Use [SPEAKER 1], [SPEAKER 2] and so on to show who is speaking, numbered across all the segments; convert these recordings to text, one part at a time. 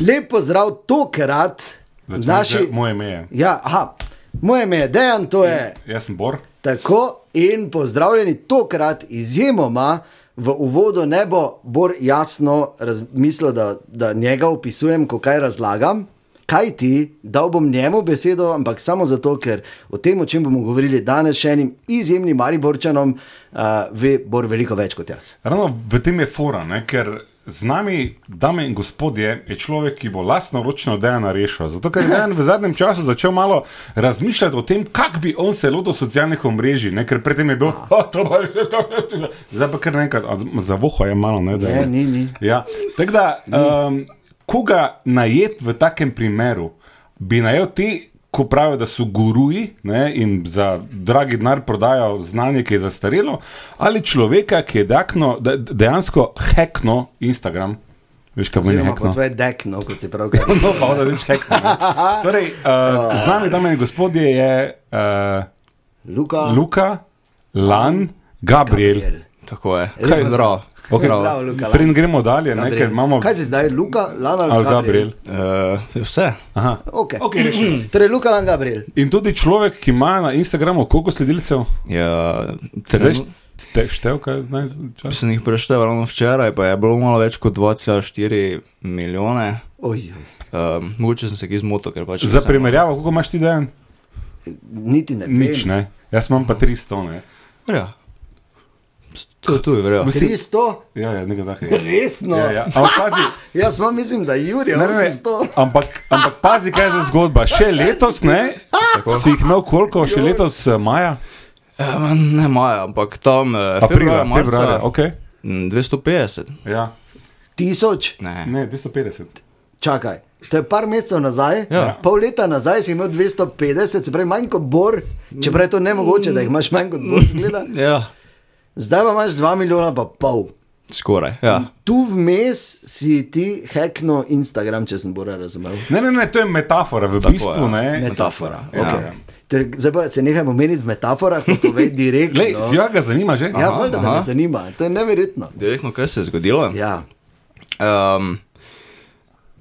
[SPEAKER 1] Lepo zdrav tokrat,
[SPEAKER 2] Začnite,
[SPEAKER 1] naši.
[SPEAKER 2] Moje ime je.
[SPEAKER 1] Ja, aha, moje ime je Dejan, to je
[SPEAKER 2] Jaz sem Bor.
[SPEAKER 1] tako in pozdravljeni tokrat izjemoma. V uvodu ne bo bolj jasno razmislil, da, da njega opisujem, ko kaj razlagam. Kaj ti, dal bom njemu besedo, ampak samo zato, ker o tem, o čem bomo govorili danes, še enim izjemnim Mariborčanom, uh, ve bolj veliko več kot jaz.
[SPEAKER 2] Ravno v tem je fora, ne? ker z nami, dame in gospodje, je človek, ki bo lastno ročno Dejana rešil. Zato, ker je Dejan v zadnjem času začel malo razmišljati o tem, kako bi on se lotil socialnih omrežij, ne? ker predtem je bil,
[SPEAKER 1] Ah.
[SPEAKER 2] "A, to pa je to, to." zdaj pa kar nekaj, zavoho je malo, ne da
[SPEAKER 1] Ne, ni, ni.
[SPEAKER 2] Ja. Tako da, um, koga najet v takem primeru, bi najel ti, ko pravijo, da so guruji ne, in za dragi denar prodajo znanje, ki je zastarelo, ali človeka, ki je dakno, de, dejansko hekno Instagram. Veš, kaj pomeni
[SPEAKER 1] Oziroma,
[SPEAKER 2] hekno?
[SPEAKER 1] kot tvoje dekno, kot si pravkar.
[SPEAKER 2] No, pa da več hekno. ne. Torej,
[SPEAKER 1] Ja.
[SPEAKER 2] uh, z nami, dame in gospodje, je uh,
[SPEAKER 1] Luka,
[SPEAKER 2] Luka, Lan, Gabriel. Gabriel.
[SPEAKER 3] Tako je.
[SPEAKER 1] Kaj-
[SPEAKER 3] zdravo?
[SPEAKER 1] Zdravo,
[SPEAKER 3] Zdravo.
[SPEAKER 1] Luka, Lan.
[SPEAKER 2] Preden gremo dalje, ne, ker imamo
[SPEAKER 1] Kaj si zdaj, Luka, Lana ali
[SPEAKER 2] Al
[SPEAKER 1] Gabriel?
[SPEAKER 2] Gabriel. Eh,
[SPEAKER 3] Uh, vse.
[SPEAKER 2] Aha.
[SPEAKER 1] Okay.
[SPEAKER 2] Okej, rešeno.
[SPEAKER 1] torej, Luka Lan Gabriel.
[SPEAKER 2] In tudi človek, ki ima na Instagramu koliko sledilcev,
[SPEAKER 3] Ja,
[SPEAKER 2] zdaj
[SPEAKER 3] trenutno-
[SPEAKER 2] štev, kaj znaj čas.
[SPEAKER 3] Sem jih preštel ravno včeraj, pa je bilo malo več kot 2,4 milijone.
[SPEAKER 1] Oj, oj.
[SPEAKER 3] Um, mogoče sem se kaj zmotil, ker pač.
[SPEAKER 2] Za
[SPEAKER 3] sem-
[SPEAKER 2] primerjavo, koliko imaš ti dan?
[SPEAKER 1] Niti ne vem.
[SPEAKER 2] Nič, ne. Jaz imam pa 300, ne.
[SPEAKER 3] Ja. To je tu, verjamem.
[SPEAKER 2] Mislim-
[SPEAKER 1] 300?
[SPEAKER 2] Ja, ja, nekaj takega.
[SPEAKER 1] Resno?
[SPEAKER 2] Ja, ja. Ampak pazi,
[SPEAKER 1] Jaz imam, mislim, da je Jurija
[SPEAKER 2] ne, ne, ne.
[SPEAKER 1] 800.
[SPEAKER 2] Ampak, ampak pazi, kaj je za zgodba. Še letos, ne?
[SPEAKER 3] Tako.
[SPEAKER 2] Si jih imel koliko, še letos eh, maja?
[SPEAKER 3] Ja, ne maja, ampak tam eh,
[SPEAKER 2] Aprila,
[SPEAKER 3] februarja, marca.
[SPEAKER 2] februarja, ok.
[SPEAKER 3] Mm, 250.
[SPEAKER 2] Ja,
[SPEAKER 1] Tisoč?
[SPEAKER 3] Ne.
[SPEAKER 2] ne, 250.
[SPEAKER 1] Čakaj. To je par mesecev nazaj,
[SPEAKER 3] Ja.
[SPEAKER 1] pol leta nazaj si imel 250, se pravi manj kot Bor, čeprav je to ne mogoče, da jih imaš manj kot Bor. Gleda.
[SPEAKER 3] Ja.
[SPEAKER 1] Zdaj pa imaš 2 milijona pa pol.
[SPEAKER 3] Skoraj. Ja.
[SPEAKER 1] Tu vmes si ti hekno Instagram, če sem Bora razumel.
[SPEAKER 2] Ne, ne, ne, to je metafora, v
[SPEAKER 3] Tako,
[SPEAKER 2] bistvu,
[SPEAKER 3] ja.
[SPEAKER 2] ne.
[SPEAKER 1] Metafora.
[SPEAKER 2] Ja.
[SPEAKER 1] Okay. Torej, zdaj pa se nehajmo meniti v metaforah, pa povej direktno. no.
[SPEAKER 2] Glej,
[SPEAKER 3] no.
[SPEAKER 2] si jo ga zanima že?
[SPEAKER 1] ja,
[SPEAKER 2] Aha.
[SPEAKER 1] valjda, da me
[SPEAKER 3] aha. Ja.
[SPEAKER 1] zanima, to je neverjetno.
[SPEAKER 3] Direktno, kaj se je zgodilo?
[SPEAKER 1] Ja.
[SPEAKER 3] Um,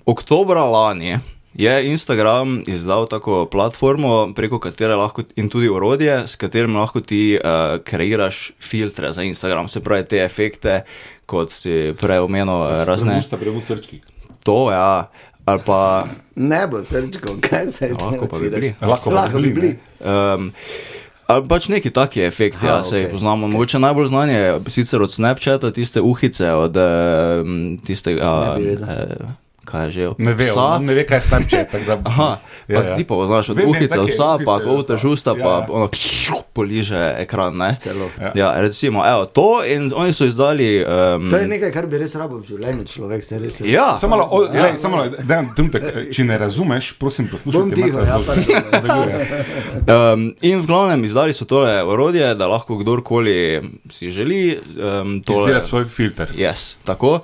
[SPEAKER 3] oktobra lani je Instagram izdal tako platformo, preko katere lahko in tudi orodje, s katerim lahko ti uh, kreiraš filtre za Instagram, se pravi te efekte, kot si prej omenil, eh, razne.
[SPEAKER 2] Usta prebud srčki.
[SPEAKER 3] To, ja, ali pa
[SPEAKER 1] Ne bo srčko, kaj se je
[SPEAKER 3] Ja,
[SPEAKER 1] tam
[SPEAKER 3] Lahko pa bi
[SPEAKER 1] odpiraš?
[SPEAKER 3] bili.
[SPEAKER 2] Lahko pa
[SPEAKER 1] lahko
[SPEAKER 2] bi
[SPEAKER 1] bi
[SPEAKER 2] bili,
[SPEAKER 1] bili.
[SPEAKER 3] Um, ali pač neki taki efekti,
[SPEAKER 1] Aha,
[SPEAKER 3] ja, se jih
[SPEAKER 1] ok.
[SPEAKER 3] poznamo. Okay. Mogoče najbolj znanje je sicer od Snapchata, tiste uhice, od um, tistega.
[SPEAKER 1] Ne bi vedel.
[SPEAKER 3] eh, Kaj je že? od
[SPEAKER 2] Ne ve,
[SPEAKER 3] psa.
[SPEAKER 2] on ne ve, kaj je Snapchat. tako Da,
[SPEAKER 3] Aha, ja, pa ja. ti pa znaš od
[SPEAKER 2] Vem, vem,
[SPEAKER 3] uhice, od
[SPEAKER 2] take
[SPEAKER 3] psa, pa
[SPEAKER 2] uhice,
[SPEAKER 3] ko vtaš usta,
[SPEAKER 2] ja,
[SPEAKER 3] pa
[SPEAKER 2] ja.
[SPEAKER 3] ono poliže ekran. Ne?
[SPEAKER 1] Celo.
[SPEAKER 3] Ja. ja, recimo, evo, to in oni so izdali. Um,
[SPEAKER 1] To je nekaj, kar bi res rabo v življenju človek, se res.
[SPEAKER 3] ja,
[SPEAKER 2] Samo malo, o, lej, samo malo, Dan, trenutek, eh, če ne razumeš, prosim, poslušaj.
[SPEAKER 1] Bom tiho, ja, pardon.
[SPEAKER 3] um, in v glavnem izdali so tole orodje, da lahko kdorkoli si želi. Um, tole,
[SPEAKER 2] Izdela svoj filter.
[SPEAKER 3] Yes, tako.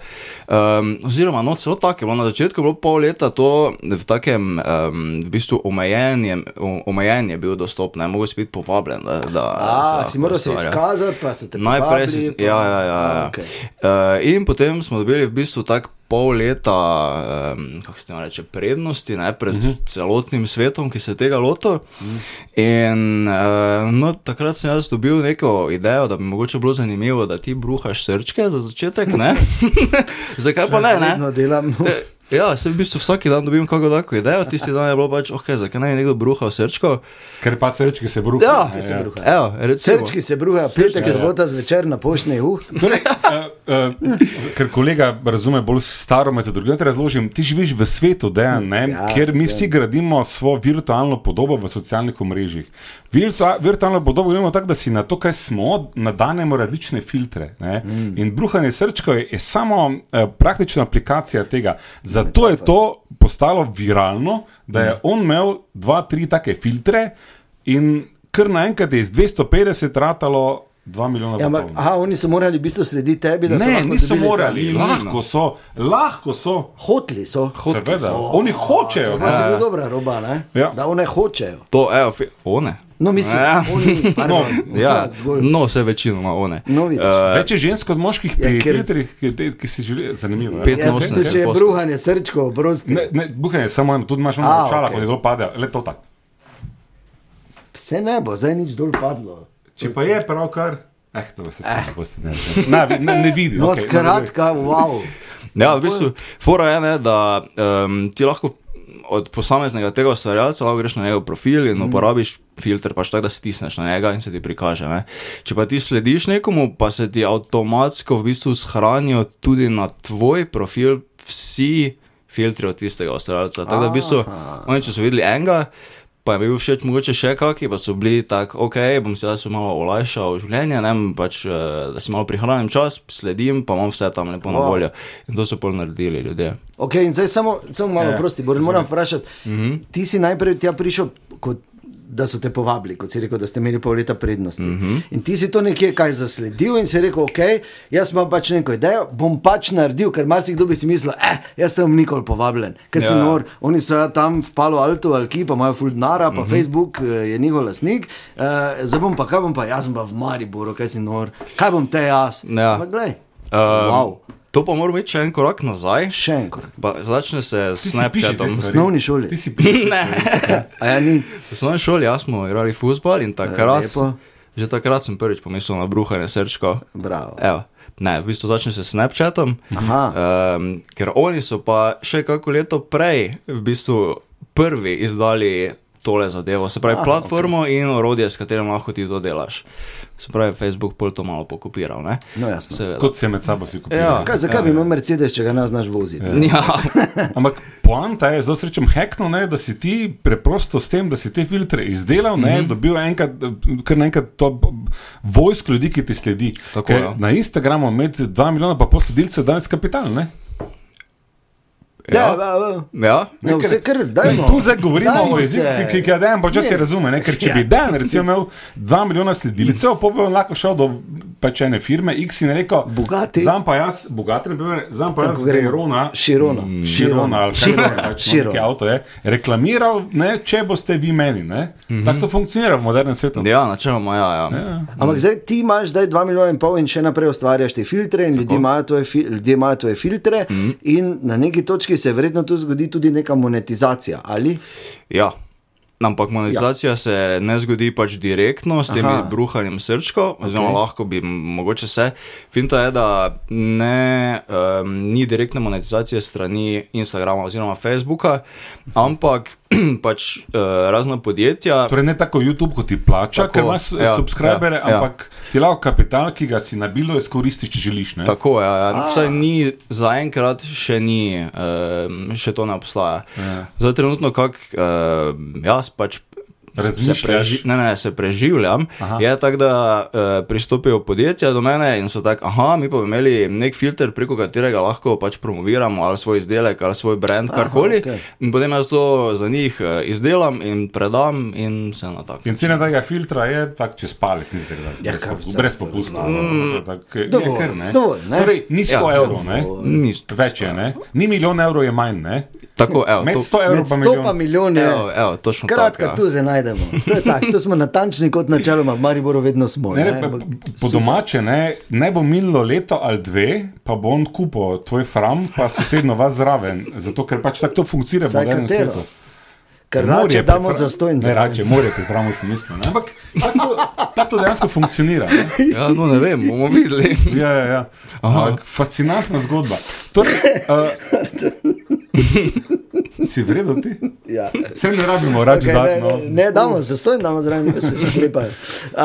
[SPEAKER 3] Um, oziroma, no, celo tako je bilo na začetku, je bilo pol leta to v takem, um, v bistvu, omejen je, o- omejen je bil dostop, ne mogo si biti povabljen. Da, da,
[SPEAKER 1] A,
[SPEAKER 3] se
[SPEAKER 1] si moral se
[SPEAKER 3] lahko ustvarja.
[SPEAKER 1] izkazati, pa so te
[SPEAKER 3] ja, Najprej si.
[SPEAKER 1] povabili, pa-
[SPEAKER 3] Ja, ja, ja. ja.
[SPEAKER 1] Okay.
[SPEAKER 3] Okay. Uh, in potem smo dobili v bistvu tako pol leta, um, kako se temu reče, prednosti ne, pred uh
[SPEAKER 1] Mhm.
[SPEAKER 3] -huh. celotnim svetom, ki se je tega lotil. Uh -huh. In uh, no, takrat sem jaz dobil neko idejo, da bi mogoče bilo zanimivo, da ti bruhaš srčke za začetek. ne. Zakaj pa Ja, ne? ne?
[SPEAKER 1] Redno delam.
[SPEAKER 3] Te- Ja, se v bistvu vsak dan dobim kako tako idejo, tisti dan je bilo pač, ok, zakaj naj bi nekdo bruhal srčko.
[SPEAKER 2] Ker pa srčki se bruha.
[SPEAKER 3] Ja,
[SPEAKER 1] Ti se bruha.
[SPEAKER 3] Evo, recimo.
[SPEAKER 1] Srčki se bruha, petek,
[SPEAKER 3] ja.
[SPEAKER 1] sobota zvečer na poštni uh.
[SPEAKER 3] No,
[SPEAKER 2] Torej, uh, uh, ker kolega razume bolj staro metodologijo, ti razložim. Ti živiš v svetu, Dejan, ne,
[SPEAKER 1] Ja,
[SPEAKER 2] ja, kjer mi
[SPEAKER 1] vem.
[SPEAKER 2] vsi gradimo svojo virtualno podobo v socialnih omrežjih. Virtua, virtualno podobo gledamo tako, da si na to, kaj smo, nadanemo različne filtre. Mm. In bruhanje srčkov je, je samo uh, praktična aplikacija tega. Zato je Mm. to postalo viralno, da je on imel dva, tri take filtre in kar naenkrat je iz 250 ratalo Dva milijona
[SPEAKER 1] Ja,
[SPEAKER 2] pa
[SPEAKER 1] ampak,
[SPEAKER 2] pol.
[SPEAKER 1] aha, oni so morali v bistvu slediti tebi, da so
[SPEAKER 2] Ne,
[SPEAKER 1] lahko
[SPEAKER 2] niso
[SPEAKER 1] dobili ta-
[SPEAKER 2] morali,
[SPEAKER 3] Ni nujno.
[SPEAKER 2] lahko so, lahko so.
[SPEAKER 1] Hotli so.
[SPEAKER 2] Seveda, oni hočejo.
[SPEAKER 1] To je
[SPEAKER 2] ne.
[SPEAKER 1] zelo dobra roba, ne?
[SPEAKER 2] Ja.
[SPEAKER 1] da one hočejo.
[SPEAKER 3] To, evo, fi- one.
[SPEAKER 1] No, mislim,
[SPEAKER 3] Ja.
[SPEAKER 1] oni, pardon,
[SPEAKER 3] Ja,
[SPEAKER 1] zgolj.
[SPEAKER 3] no, se večinoma one.
[SPEAKER 1] No, vidiš.
[SPEAKER 2] Več je žensk od moških pri
[SPEAKER 1] Ja, ker-
[SPEAKER 2] filtrih, ki, te- ki si želijo, zanimivo. ne?
[SPEAKER 3] Pet
[SPEAKER 1] Ja,
[SPEAKER 3] na
[SPEAKER 1] veste,
[SPEAKER 3] 80
[SPEAKER 1] če je
[SPEAKER 3] posto.
[SPEAKER 1] bruhanje srčko, oprosti,
[SPEAKER 2] Ne, ne, buhaj, samo eno, tudi imaš
[SPEAKER 1] A,
[SPEAKER 2] malo očala,
[SPEAKER 1] ok.
[SPEAKER 2] ko ti to pade, le to tako.
[SPEAKER 1] vse ne bo, zdaj nič dol padlo.
[SPEAKER 2] Če pa je pravkar, eh, to se eh. ne boste ne, ne, ne, ne, ne vidi.
[SPEAKER 1] No,
[SPEAKER 2] Ja, okej,
[SPEAKER 1] okay, skratka, wow.
[SPEAKER 3] Ja, v bistvu, fora je, ne, da um, ti lahko od posameznega tega ustvarjalca lahko greš na njegov profil
[SPEAKER 1] Mhm.
[SPEAKER 3] in uporabiš filter, pač tako, da stisneš na njega in se ti prikaže. Ne. Če pa ti slediš nekomu, pa se ti avtomatsko v bistvu shranijo tudi na tvoj profil vsi filtri od tistega ustvarjalca. Tako da v bistvu, oni če so videli enega. Pa je bil všeč mogoče še kaki, pa so bili tako, ok, bom si jaz malo olajšal življenje, ne, pač, eh, da si malo prihranim čas, sledim, pa imam vse tam lepo na
[SPEAKER 1] Wow.
[SPEAKER 3] voljo. In to so pol naredili ljudje.
[SPEAKER 1] Okay, in zdaj samo, samo malo,
[SPEAKER 2] Ja,
[SPEAKER 1] prosti, Boris, moram vprašati. Mm -hmm. Ti si najprej tja prišel, kot, da so te povabili, kot si rekel, da ste imeli pol leta prednosti. Mm -hmm. In ti si to nekje kaj zasledil in si rekel, ok, jaz imam pač neko idejo, bom pač naredil, ker marsikdo bi si mislil, eh, jaz sem nikoli povabljen, ker ja. si
[SPEAKER 3] Ja.
[SPEAKER 1] nor, oni so ja tam v Palo Alto, Alki, pa imajo Fuldnara, pa mm -hmm. Facebook eh, je njihov lasnik, uh, zdaj bom pa kaj bom pa, jaz sem pa v Mariboru, kaj si nor, kaj bom te jaz.
[SPEAKER 3] Ja.
[SPEAKER 1] Ma, glej, um,
[SPEAKER 3] Ehm,
[SPEAKER 1] wow,
[SPEAKER 3] To pa mora biti še en korak nazaj.
[SPEAKER 1] še enkrat.
[SPEAKER 3] Pa začne se
[SPEAKER 2] Ti
[SPEAKER 3] s
[SPEAKER 2] si piši te
[SPEAKER 3] Snapchatom.
[SPEAKER 2] stvari.
[SPEAKER 1] Osnovni šoli.
[SPEAKER 2] Ti si piši.
[SPEAKER 1] A ja, ni.
[SPEAKER 3] V osnovni šoli jaz smo igrali fusbal in takrat,
[SPEAKER 1] Lepo.
[SPEAKER 3] že takrat sem prvič pomislil na bruhanje srčko.
[SPEAKER 1] Bravo.
[SPEAKER 3] Evo. Ne, v bistvu začne se s Snapchatom,
[SPEAKER 1] Aha.
[SPEAKER 3] um, ker oni so pa še kako leto prej, v bistvu prvi izdali tole zadevo, se
[SPEAKER 1] Ah,
[SPEAKER 3] pravi Aha, platformo okay. in orodje, s katerim lahko ti to delaš. Se pravi, Facebook pol to malo pokopiral, ne?
[SPEAKER 1] No, jasno.
[SPEAKER 3] Seveda.
[SPEAKER 2] Kot se med sabo si kupil.
[SPEAKER 3] Ja.
[SPEAKER 1] Kaj, zakaj bi imel Mercedes, če ga ne znaš voziti?
[SPEAKER 3] Ja.
[SPEAKER 2] Ampak poanta je, zelo srečem, hekno, ne, da si ti preprosto s tem, da si te filtre izdelal, ne,
[SPEAKER 3] Mhm.
[SPEAKER 2] mm -hmm. dobil enkrat, eh, kar naenkrat to b- b- vojsko ljudi, ki ti sledi.
[SPEAKER 3] Tako,
[SPEAKER 2] Ker
[SPEAKER 3] ja.
[SPEAKER 2] na Instagramu imeti 2 milijona pa pol sledilcev je danes kapital. Ne?
[SPEAKER 1] Ja, ja, ja.
[SPEAKER 3] ja.
[SPEAKER 1] Ne,
[SPEAKER 2] Ne, ker-
[SPEAKER 1] vse kar, dajmo.
[SPEAKER 2] Tu zdaj govorimo
[SPEAKER 1] Dajmo
[SPEAKER 2] o jeziku,
[SPEAKER 1] se.
[SPEAKER 2] ki- ki ki ga dajem, pa če se
[SPEAKER 1] Ne.
[SPEAKER 2] razume. Ne? Ker če
[SPEAKER 1] Ja.
[SPEAKER 2] bi dan recimo, imel 2 milijona sledilcev,
[SPEAKER 3] Mhm.
[SPEAKER 2] pa bi on lahko šel do pač ene firme X in rekel:
[SPEAKER 1] Bogati.
[SPEAKER 2] Zam pa jaz, bogati, ne bi zam pa jaz,
[SPEAKER 1] Tako gremo.
[SPEAKER 2] Rona.
[SPEAKER 1] Širona.
[SPEAKER 2] Mm, Širona, ali kaj že pač, no,
[SPEAKER 1] Širona.
[SPEAKER 2] neki avto je, reklamiral, ne, če boste vi meni. Ne? Tako to funkcionira v modernem svetu.
[SPEAKER 3] Ja, načeloma, ja. ja. ja.
[SPEAKER 1] Ampak zdaj ti imaš zdaj 2 milijona in pol in še naprej ustvarjaš te filtre, in ljudje imajo tvoje, fi, ljudje imajo tvoje filtre,
[SPEAKER 2] Mhm.
[SPEAKER 1] mm -hmm. in na neki točki se verjetno tu zgodi tudi neka monetizacija. Ali?
[SPEAKER 3] ja. Ampak monetizacija ja. se ne zgodi pač direktno s tem
[SPEAKER 1] Aha.
[SPEAKER 3] bruhanjem srčka, oziroma okay. lahko bi m- mogoče se. Finta je, da ne, um, ni direktne monetizacije s strani Instagrama oziroma Facebooka, ampak pač uh, razna podjetja.
[SPEAKER 2] Torej, ne tako YouTube, kot ti plača, tako,
[SPEAKER 3] Tako,
[SPEAKER 2] ker imaš ja,
[SPEAKER 3] ja,
[SPEAKER 2] subscribere, ja,
[SPEAKER 3] ja, ja.
[SPEAKER 2] ampak ja. ti lahko kapital, ki ga si nabilo, izkoristiš, če želiš. Ne?
[SPEAKER 3] Tako je, ja, ja. vsaj ni, zaenkrat še ni, um, še to ne obstaja. Ja. Zdaj, trenutno, kako uh, jaz pač se,
[SPEAKER 2] Razmišljaš?
[SPEAKER 3] preži, ne, ne, se preživljam, Aha. je tako, da uh, pristopijo podjetja do mene in so tako, aha, mi pa bi imeli nek filter, preko katerega lahko pač promoviramo ali svoj izdelek ali svoj brand, karkoli.
[SPEAKER 1] okej.
[SPEAKER 3] Okay. In potem jaz to za njih uh, izdelam in predam in se na tak.
[SPEAKER 2] In cena tega filtra je tako čez palec, izdelek,
[SPEAKER 1] Ja,
[SPEAKER 2] brez,
[SPEAKER 1] kar
[SPEAKER 2] popu-
[SPEAKER 1] se-
[SPEAKER 2] brez no, popustov.
[SPEAKER 1] Dovolj, dovolj, ne.
[SPEAKER 2] Torej, ni 100
[SPEAKER 3] Ja,
[SPEAKER 2] ja, evrov, ne?
[SPEAKER 3] Ni s-
[SPEAKER 2] več je, ne? ni milijon evrov, je manj. Ne?
[SPEAKER 3] Tako, evo,
[SPEAKER 2] Med
[SPEAKER 3] Ja, to-
[SPEAKER 2] 100 evrov
[SPEAKER 1] Med
[SPEAKER 2] pa
[SPEAKER 1] 100 pa
[SPEAKER 2] milijon.
[SPEAKER 1] milijoni.
[SPEAKER 3] Evo, evo, točno
[SPEAKER 1] Skratka,
[SPEAKER 3] tako, ja.
[SPEAKER 1] tu se najdemo. To je tako, tu smo natančni kot načeloma, v Mariboru vedno smo.
[SPEAKER 2] Ne,
[SPEAKER 1] ne,
[SPEAKER 2] ne, pa-
[SPEAKER 1] ampak-
[SPEAKER 2] po domače, ne, ne bo minilo leto ali dve, pa bo on kupil tvoj fram, pa sosedno vas zraven, zato ker pač tako to funkcionira v
[SPEAKER 1] Vsaj
[SPEAKER 2] modernem
[SPEAKER 1] katero.
[SPEAKER 2] svetu.
[SPEAKER 1] Ker
[SPEAKER 2] Morje
[SPEAKER 1] rače
[SPEAKER 2] pri
[SPEAKER 1] damo
[SPEAKER 2] Fra-
[SPEAKER 1] za sto in
[SPEAKER 2] Ne,
[SPEAKER 1] za
[SPEAKER 2] rače, more pripravimo si mislim. ne. Ampak tako to- tako to dejansko funkcionira. Ne?
[SPEAKER 3] Ja, no ne vem, bomo videli.
[SPEAKER 2] Ja, ja, ja. Ampak fascinantna zgodba. Torej, uh, si vredno ti?
[SPEAKER 1] Ja.
[SPEAKER 2] Vse ne rabimo, rač okay,
[SPEAKER 1] Okay, ne,
[SPEAKER 2] dati. No.
[SPEAKER 1] ne, ne, damo, zastojno damo zraven, da se že lepajo. Uh,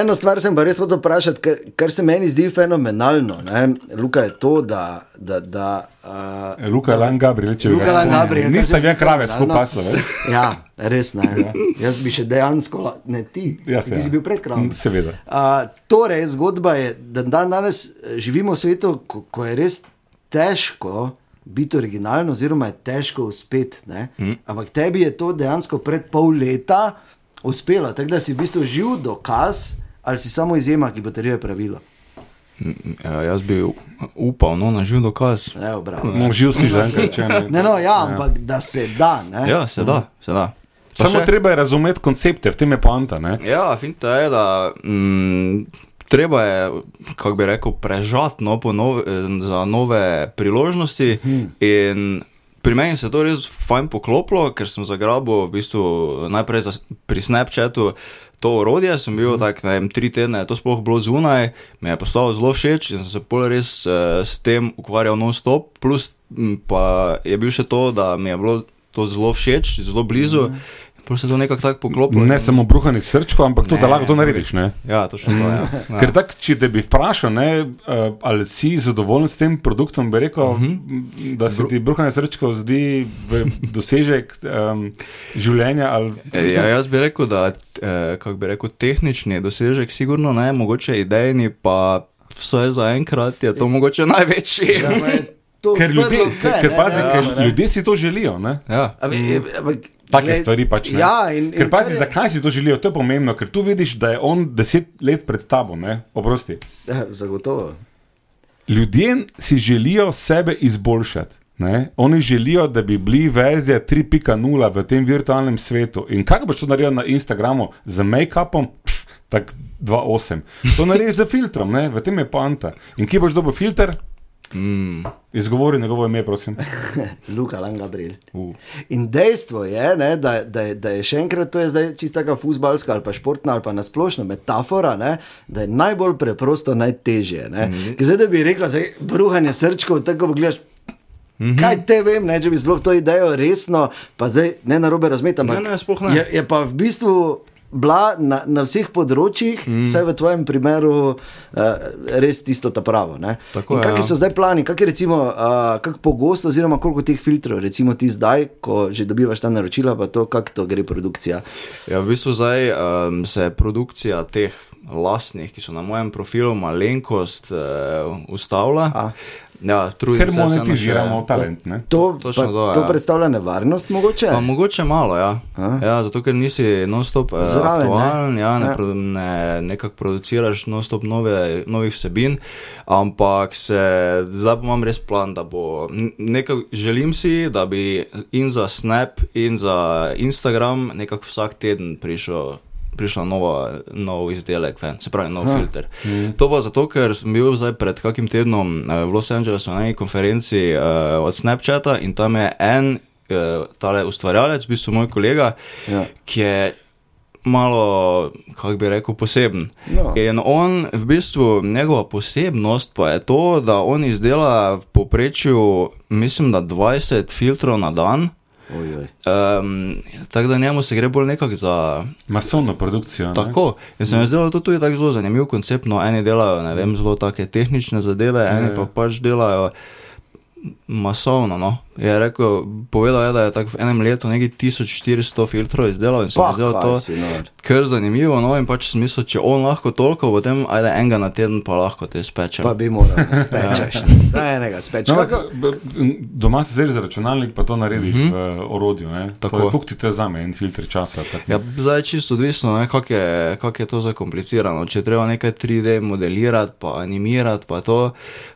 [SPEAKER 1] eno stvar sem pa res hotel vprašati, kar, kar se meni zdi fenomenalno, ne? Luka je to, da. da, da uh,
[SPEAKER 2] Eh, Luka je Lan Gabriel, če bi
[SPEAKER 1] Luka
[SPEAKER 2] ga
[SPEAKER 1] Lan
[SPEAKER 2] spomnil.
[SPEAKER 1] Gabriel, kar
[SPEAKER 2] Nista
[SPEAKER 1] se mi
[SPEAKER 2] ga
[SPEAKER 1] zdi
[SPEAKER 2] krave
[SPEAKER 1] fenomenalno.
[SPEAKER 2] skupasla, veš?
[SPEAKER 1] Ja, res ne. Jaz bi še dejansko, la- ne ti,
[SPEAKER 2] Ja,
[SPEAKER 1] ti
[SPEAKER 2] se, ja.
[SPEAKER 1] si bil pred krajem.
[SPEAKER 2] Mm, seveda.
[SPEAKER 1] Uh, torej, zgodba je, da dan danes eh, živimo v svetu, ko, ko je res težko biti originalen, oziroma je težko uspeti. Mm. Ampak tebi je to dejansko pred pol leta uspelo, tako da si v bistvu živ dokaz. ali si samo izjema, ki potrjuje pravilo?
[SPEAKER 3] Ja, jaz bi upal no, na živ dokaz.
[SPEAKER 1] Evo, bravo.
[SPEAKER 2] No, živ si že enkrat, če ne.
[SPEAKER 1] Ne, no, ja, ampak da se da. Ne?
[SPEAKER 3] Ja, se da, se da. Pa
[SPEAKER 2] Samo
[SPEAKER 3] še-
[SPEAKER 2] treba je razumeti koncepte, v tem je poanta. Ne?
[SPEAKER 3] Ja, finta je, da mm, treba je, kako bi rekel, prežati no, po nov, eh, za nove priložnosti.
[SPEAKER 2] Mhm.
[SPEAKER 3] Hmm. In pri meni se je to res fajn poklopilo, ker sem zagrabil v bistvu najprej za, pri Snapchatu. To orodje sem
[SPEAKER 2] Mhm.
[SPEAKER 3] bil tako, ne vem, tri tedne, je to sploh bilo zunaj, mi je postalo zelo všeč in sem se pol res uh, s tem ukvarjal non-stop, plus m, pa je bil še to, da mi je bilo to zelo všeč, zelo blizu, mm. pol se je to nekako tako poklopilo.
[SPEAKER 2] Mhm. Ne
[SPEAKER 3] in-
[SPEAKER 2] samo bruhani srčko, ampak to, da
[SPEAKER 3] Ne,
[SPEAKER 2] lahko to narediš. Ne?
[SPEAKER 3] Ja, točno to je. Ja.
[SPEAKER 2] Ker tak, če te bi vprašal, ne, eh, ali si zadovoljen s tem produktom, bi rekel,
[SPEAKER 1] Mhm.
[SPEAKER 2] uh -huh. da se ti bruhanje srčko zdi v- dosežek um, življenja. Ali...
[SPEAKER 1] Eh,
[SPEAKER 3] Ja, jaz bi rekel, da eh, kako bi rekel, tehnični dosežek, sigurno ne, mogoče idejni, pa vsaj zaenkrat je to mogoče največji.
[SPEAKER 1] Da
[SPEAKER 2] Ja.
[SPEAKER 1] pa je to
[SPEAKER 2] Ker, ljudje,
[SPEAKER 1] odprlo vse,
[SPEAKER 2] vse, ker,
[SPEAKER 1] ne,
[SPEAKER 2] pazi,
[SPEAKER 1] dejansko,
[SPEAKER 2] ker
[SPEAKER 1] ne.
[SPEAKER 2] ljudje si to želijo. Ne?
[SPEAKER 3] Ja.
[SPEAKER 1] Ampak- ampak,
[SPEAKER 2] Mm. Take
[SPEAKER 1] glej,
[SPEAKER 2] stvari pač ne.
[SPEAKER 1] Ja, in, in
[SPEAKER 2] ker pazi,
[SPEAKER 1] kar je-
[SPEAKER 2] zakaj si to želijo, to je pomembno, ker tu vidiš, da je on deset let pred tabo, ne? oprosti.
[SPEAKER 1] Ja, Zagotovo.
[SPEAKER 2] Ljudje si želijo sebe izboljšati. Ne? Oni želijo, da bi bili verzija 3.0 v tem virtualnem svetu. In kako boš to naredil na Instagramu z make-upom, Pst, tak 2.8. To narediš z filtrom, ne? v tem je poanta. In kje boš dobil filter?
[SPEAKER 3] Mm,
[SPEAKER 2] Izgovori njegovo ime, prosim.
[SPEAKER 1] Luka Lan Gabriel.
[SPEAKER 3] uh.
[SPEAKER 1] In dejstvo je, ne, da, da, je- da je še enkrat, to je zdaj čista taka fusbalska ali pa športna ali pa nasplošno metafora, ne, da je najbolj preprosto, najtežje. Mm
[SPEAKER 2] Mhm.
[SPEAKER 1] -hmm. Zdaj, da bi rekel, zdaj, bruhanje srčkov, tako gledaš. Mm
[SPEAKER 2] Mhm.
[SPEAKER 1] -hmm. Kaj te vem, ne, če bi sploh to idejo resno, pa zdaj ne na robe razumeti. ampak
[SPEAKER 3] Ne, ne, sploh ne.
[SPEAKER 1] Je, je pa v bistvu bila na, na vseh področjih, mm. vsaj v tvojem primeru, uh, res tisto ta pravo. ne.
[SPEAKER 3] Tako
[SPEAKER 1] In
[SPEAKER 3] je,
[SPEAKER 1] kakšni
[SPEAKER 3] ja.
[SPEAKER 1] so zdaj plani, kako je recimo, uh, kako pogosto, oziroma koliko teh filtrov, recimo ti zdaj, ko že dobivaš ta naročila, pa to, kako to gre produkcija.
[SPEAKER 3] Ja, v bistvu zdaj um, se produkcija teh lastnih, ki so na mojem profilu, malenkost uh,
[SPEAKER 1] A.
[SPEAKER 3] ustavlja. Ja, trudim
[SPEAKER 2] Ker
[SPEAKER 3] se, vseeno še-
[SPEAKER 2] monetiziramo
[SPEAKER 3] ja.
[SPEAKER 2] talent. Ne?
[SPEAKER 1] To,
[SPEAKER 3] Točno
[SPEAKER 1] pa,
[SPEAKER 3] to, ja.
[SPEAKER 1] to predstavlja nevarnost, mogoče.
[SPEAKER 3] Pa mogoče malo, ja. ja zato ker nisi non-stop eh,
[SPEAKER 1] Zraven, ne?
[SPEAKER 3] aktualen, ja, ne,
[SPEAKER 1] Ja.
[SPEAKER 3] ja. Pro, ne, nekako produciraš non-stop nove, novih vsebin, ampak se, zdaj pa imam res plan, da bo. n- Nekak, želim si, da bi in za Snap, in za Instagram nekako vsak teden prišel. Prišla nova, nov izdelek, ven, se pravi, nov ja. filter. Mm. To pa zato, ker sem bil zdaj pred kakim tednom eh, v Los Angelesu na neki konferenci uh, od Snapchata in tam je en eh, tale ustvarjalec, v bistvu moj kolega,
[SPEAKER 1] Ja.
[SPEAKER 3] ja. ki je malo, kako bi rekel, poseben.
[SPEAKER 1] No.
[SPEAKER 3] In on, v bistvu, njegova posebnost pa je to, da on izdela v poprečju, mislim, da 20 filtrov na dan.
[SPEAKER 1] Oj, oj.
[SPEAKER 3] Um, tako da njemu se gre bolj nekako za
[SPEAKER 2] Masovno produkcijo. ne.
[SPEAKER 3] Tako, in se mi je zdelo to tudi tako zelo zanimiv koncept. No, eni delajo, ne vem, zelo take tehnične zadeve, eni
[SPEAKER 1] Ja,
[SPEAKER 3] pa pač delajo masovno. No. Je rekel, povedal je, da je tako v enem letu nekaj 1400 filtrov izdelal in se mi
[SPEAKER 1] Pa,
[SPEAKER 3] je zdelo
[SPEAKER 1] kaj
[SPEAKER 3] to
[SPEAKER 1] si no? nor.
[SPEAKER 3] kar zanimivo. No, in pač smisel, če on lahko toliko, potem ajde enega na teden pa lahko te speče. no.
[SPEAKER 1] pa bi moral spečeš.
[SPEAKER 3] Ja.
[SPEAKER 1] Da, enega spečeš.
[SPEAKER 2] No,
[SPEAKER 1] No,
[SPEAKER 2] ampak, b- m, doma si sedeš za računalnik, pa to narediš mm -hmm. v orodju. ne. To
[SPEAKER 3] Mhm. Tako.
[SPEAKER 2] je Pukti te zame en filter časa. tako.
[SPEAKER 3] Ja, zdaj je čisto odvisno, ne, kako je, kak je to zakomplicirano. Če je treba nekaj 3D modelirati, pa animirati, pa to,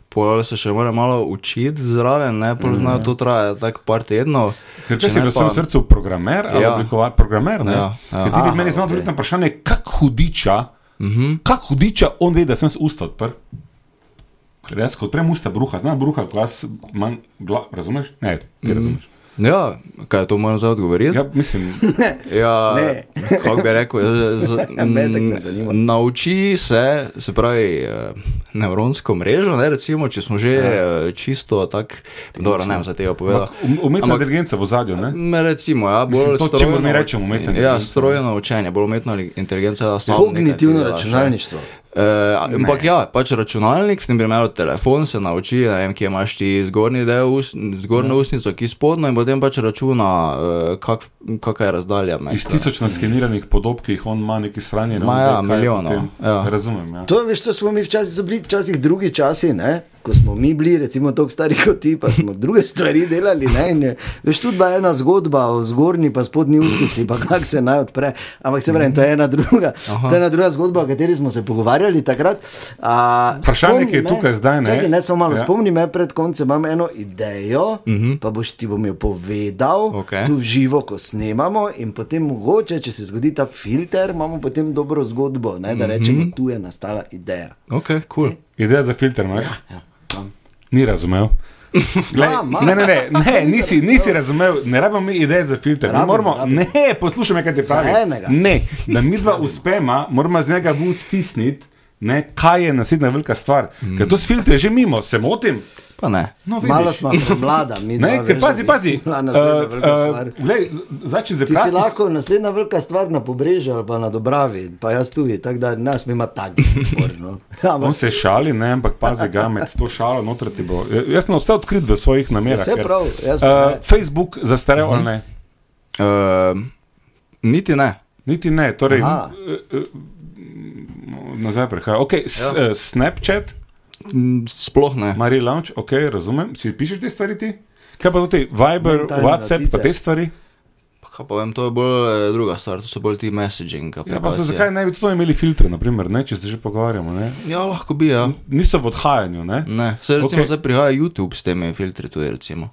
[SPEAKER 3] pol se še mora malo učiti zraven, ne pol znajo, to traja tako par tednov.
[SPEAKER 2] Ker
[SPEAKER 3] Če
[SPEAKER 2] če si
[SPEAKER 3] ne
[SPEAKER 2] v svojem
[SPEAKER 3] pa-
[SPEAKER 2] srcu programer, ali
[SPEAKER 3] Ja.
[SPEAKER 2] oblikoval programer, ne?
[SPEAKER 3] Ja, ja.
[SPEAKER 2] Ker ti bi meni znal odgovoriti na vprašanje, kako hudiča,
[SPEAKER 3] Mhm.
[SPEAKER 2] kako hudiča on ve, da sem s usta odprl. Ker jaz kot prem usta bruha, znam bruha, glas, manj, gla, razumeš? Ne,
[SPEAKER 3] Mhm.
[SPEAKER 2] ti razumeš.
[SPEAKER 3] Ja, kaj to moram zdaj odgovoriti?
[SPEAKER 2] Ja, mislim,
[SPEAKER 3] Ja,
[SPEAKER 1] Ne.
[SPEAKER 3] kako bi rekel, z, z,
[SPEAKER 2] Ja,
[SPEAKER 1] Me tako ne zanima.
[SPEAKER 3] nauči se, se pravi, eh, nevronsko mrežo. Ne, recimo, če smo že eh, čisto tako, dobro, ne vem, za tega povedal.
[SPEAKER 2] Ja. um- umetna inteligenca v zadju, ne?
[SPEAKER 3] Me Recimo, ja, bolj
[SPEAKER 2] Mislim, to, čemu
[SPEAKER 3] strojno-
[SPEAKER 2] mi rečemo umetna
[SPEAKER 3] Ja,
[SPEAKER 2] inteligenca.
[SPEAKER 3] strojno učenje, bolj umetna ali- inteligenca. da samo nekaj
[SPEAKER 1] Kognitivno
[SPEAKER 3] delaš, ne.
[SPEAKER 1] računalništvo.
[SPEAKER 3] Eh, ampak ja, pač računalnik, v tem primeru telefon se nauči, ne vem, kje imaš ti zgornji del, us, zgornjo
[SPEAKER 2] Mm.
[SPEAKER 3] usnico, ki spodnjo in potem pač računa, eh, kak, kakaj je razdalja med.
[SPEAKER 2] iz tisoč naskeniranih podob, ki jih on ima neki sranjeni.
[SPEAKER 3] Ma ja, milijonov, ja.
[SPEAKER 2] Razumem, ja.
[SPEAKER 1] To, veš, to smo mi včasih, so bili včasih drugi časi, ne? ko ko smo mi bili, recimo, tako stari kot ti, pa smo druge stvari delali. Ne, in, je- veš, tudi bila je ena zgodba o zgornji pa spodnji uskici, pa kako se naj odpre. Ampak se pravi, to je ena druga, to je ena druga zgodba, o kateri smo se pogovarjali takrat. A,
[SPEAKER 2] Vprašanje,
[SPEAKER 1] spomni
[SPEAKER 2] ki je
[SPEAKER 1] me-
[SPEAKER 2] tukaj zdaj, ne?
[SPEAKER 1] Čakaj, ne samo malo,
[SPEAKER 2] Ja.
[SPEAKER 1] ja. spomni me, pred koncem imam eno idejo, uh
[SPEAKER 2] Mhm.
[SPEAKER 1] -huh. pa boš ti bom jo povedal,
[SPEAKER 3] Okej.
[SPEAKER 1] tu v živo, ko snemamo, in potem mogoče, če se zgodi ta filter, imamo potem dobro zgodbo, ne, da
[SPEAKER 2] Mhm.
[SPEAKER 1] rečemo, tu je nastala ideja.
[SPEAKER 3] Ok, cool.
[SPEAKER 2] Ideja za filter, ne?
[SPEAKER 1] Ja, imam.
[SPEAKER 2] Ni razumel. Glej,
[SPEAKER 1] Ma, ma.
[SPEAKER 2] ne, ne, ne, ne, nisi, nisi razumel, ne rabimo mi ideje za filter. Mi
[SPEAKER 1] Rabimo,
[SPEAKER 2] moramo,
[SPEAKER 1] rabimo.
[SPEAKER 2] ne, poslušaj, me, kaj ti pravi.
[SPEAKER 1] enega.
[SPEAKER 2] Ne, da mi dva uspeva, moramo z njega ven stisniti, ne, kaj je naslednja velika stvar. Mm. Ker to s filtri je že mimo, se motim.
[SPEAKER 3] Pa ne.
[SPEAKER 2] No, vidiš.
[SPEAKER 1] Hmm. Malo smo mlada, mi
[SPEAKER 2] Ne,
[SPEAKER 1] dva,
[SPEAKER 2] ker
[SPEAKER 1] veš, da
[SPEAKER 2] pazi,
[SPEAKER 1] bi
[SPEAKER 2] pazi. Eh,
[SPEAKER 1] bila naslednja velika stvar.
[SPEAKER 2] Začni
[SPEAKER 1] Ti si
[SPEAKER 2] zapravljati.
[SPEAKER 1] lahko naslednja velika stvar na pobrežju ali pa na Dobravi, pa jaz tudi, tako da nas ima tako naporno.
[SPEAKER 2] On se šali, ne, ampak pazi ga med to šalo, noter ti bo. Ja, Jaz sem vse odkrit v svojih namerah.
[SPEAKER 1] Ja, Saj
[SPEAKER 2] ker,
[SPEAKER 1] prav, jaz pa ne.
[SPEAKER 2] eh,
[SPEAKER 1] Mhm.
[SPEAKER 2] Facebook zastarel ali ne?
[SPEAKER 3] Uh, niti ne.
[SPEAKER 2] Niti ne, torej,
[SPEAKER 1] Aha.
[SPEAKER 2] eh, eh, nazaj prehajam. Okay, s,
[SPEAKER 1] Ja.
[SPEAKER 2] eh, Snapchat,
[SPEAKER 3] Mm, Sploh ne.
[SPEAKER 2] Marij Lounge, ok, razumem. Si pišeš te stvari ti? Kaj pa ti, Viber,
[SPEAKER 1] Mentalne
[SPEAKER 2] WhatsApp,
[SPEAKER 1] notice.
[SPEAKER 2] pa te stvari?
[SPEAKER 3] Kaj pa vem, to je bolj eh, druga stvar, to so bolj ti messaging.
[SPEAKER 2] Ja, pa se,
[SPEAKER 3] aplikacije.
[SPEAKER 2] zakaj ne bi tudi imeli filtre, naprimer, ne, če se že pogovarjamo? Ne?
[SPEAKER 3] Ja, lahko bi, ja.
[SPEAKER 2] Niso v odhajanju, ne?
[SPEAKER 3] Ne, se recimo
[SPEAKER 2] Okej.
[SPEAKER 3] okay. zdaj prihaja YouTube s temi filtri tudi recimo.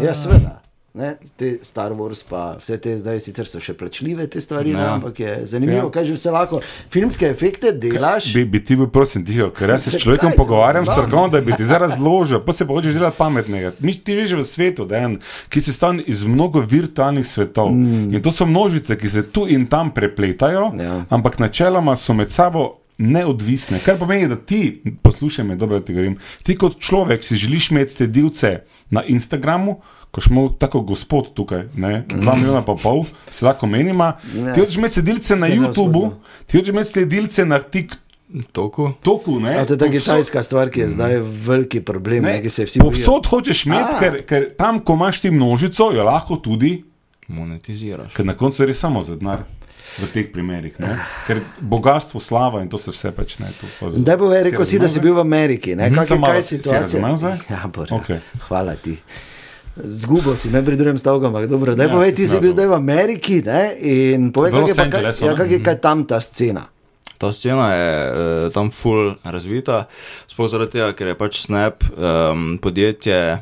[SPEAKER 1] Ja, seveda. Ne, te Star Wars, pa vse te zdaj sicer so še plačljive, te stvari, ne,
[SPEAKER 3] Ja.
[SPEAKER 1] ampak je zanimivo, ja. kaj že vse lahko. Filmske efekte delaš.
[SPEAKER 2] Bi, bi ti bil, prosim, tiho, ker jaz se
[SPEAKER 1] Se
[SPEAKER 2] s človekom
[SPEAKER 1] kaj,
[SPEAKER 2] pogovarjam
[SPEAKER 1] znam.
[SPEAKER 2] strokovno, da bi ti zdaj razložil, pa se pa hočeš delati pametnega. Mi ti že v svetu, da je en, ki se stane iz mnogo virtualnih svetov mm. in to so množice, ki se tu in tam prepletajo,
[SPEAKER 1] Ja.
[SPEAKER 2] ja. ampak načeloma so med sabo. Neodvisne, kar pomeni, da ti, poslušaj me, dobro, da ti govorim, ti kot človek si želiš imeti sledilce na Instagramu, ko smo tako gospod tukaj, ne, dva milijona pa pol, se lahko menima,
[SPEAKER 1] Ne.
[SPEAKER 2] ti hočeš imeti sledilce na
[SPEAKER 1] Slednja
[SPEAKER 2] YouTubu,
[SPEAKER 1] zgodba.
[SPEAKER 2] ti hočeš imeti sledilce na TikToku,
[SPEAKER 3] Toku.
[SPEAKER 2] toku. Ne,
[SPEAKER 1] A to je ta
[SPEAKER 2] povsod- Mm.
[SPEAKER 1] kitajska stvar, ki je zdaj veliki problem, ne,
[SPEAKER 2] ne,
[SPEAKER 1] ki se vsi bojijo.
[SPEAKER 2] Povsod hočeš imeti,
[SPEAKER 1] A.
[SPEAKER 2] ker, ker tam, ko imaš ti množico, jo lahko tudi,
[SPEAKER 3] Monetiziraš.
[SPEAKER 2] ker na koncu gre samo za denar. V teh primerih, ne? ker bogatstvo, slava in to se vse pač ne.
[SPEAKER 1] Daj bo rekel si, da si bil v Ameriki, ne? Kak je kaj
[SPEAKER 2] Samo no, malo,
[SPEAKER 1] je
[SPEAKER 2] si
[SPEAKER 1] situacija?
[SPEAKER 2] razumel zdaj?
[SPEAKER 1] Ja, bor,
[SPEAKER 2] Okej.
[SPEAKER 1] Hvala ti. Zgubo si me pri drugem stavku, ampak dobro. Daj
[SPEAKER 2] Ja,
[SPEAKER 1] povej,
[SPEAKER 2] se
[SPEAKER 1] ti si
[SPEAKER 2] smejal
[SPEAKER 1] bil
[SPEAKER 2] bom.
[SPEAKER 1] zdaj v Ameriki ne? in povej,
[SPEAKER 2] V
[SPEAKER 1] kak je, pa,
[SPEAKER 2] Los
[SPEAKER 1] kaj,
[SPEAKER 2] Angelesu,
[SPEAKER 1] ja,
[SPEAKER 2] ne? Mhm.
[SPEAKER 1] kak je kaj tam ta scena.
[SPEAKER 3] Ta scena je eh, tam full razvita, sploh zaradi tega, ker je pač Snap um, podjetje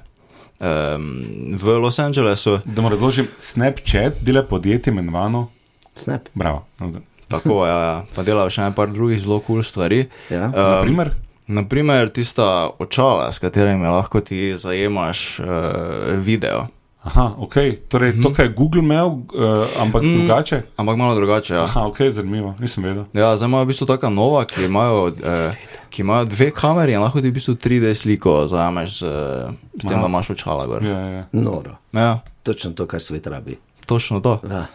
[SPEAKER 3] um, v Los Angelesu.
[SPEAKER 2] Da mu razložim, Snapchat dela podjetje imenovano
[SPEAKER 1] Snap.
[SPEAKER 2] Bravo. No, zdaj.
[SPEAKER 3] Tako, ja, ja. pa delajo še nekaj drugih zelo kul cool stvari. Ehm,
[SPEAKER 1] Ja.
[SPEAKER 2] Naprimer,
[SPEAKER 3] Naprimer, tista očala, s katerimi lahko ti zajemaš uh, video.
[SPEAKER 2] aha, okay, torej, to, kar je Google imel, uh, ampak mm. drugače.
[SPEAKER 3] Ampak malo drugače. Ja.
[SPEAKER 2] Aha, ok, zanimivo, nisem vedel.
[SPEAKER 3] Ja, zdaj imajo v bistvu tako nova, ki imajo, eh, ki imajo dve kameri in lahko ti v bistvu 3D sliko zajameš, eh, s tem, da imaš očala gor.
[SPEAKER 2] Ja, ja, ja.
[SPEAKER 1] Noro.
[SPEAKER 3] Ja,
[SPEAKER 1] Točno to, kar svet rabi.
[SPEAKER 3] točno to.
[SPEAKER 1] Ja.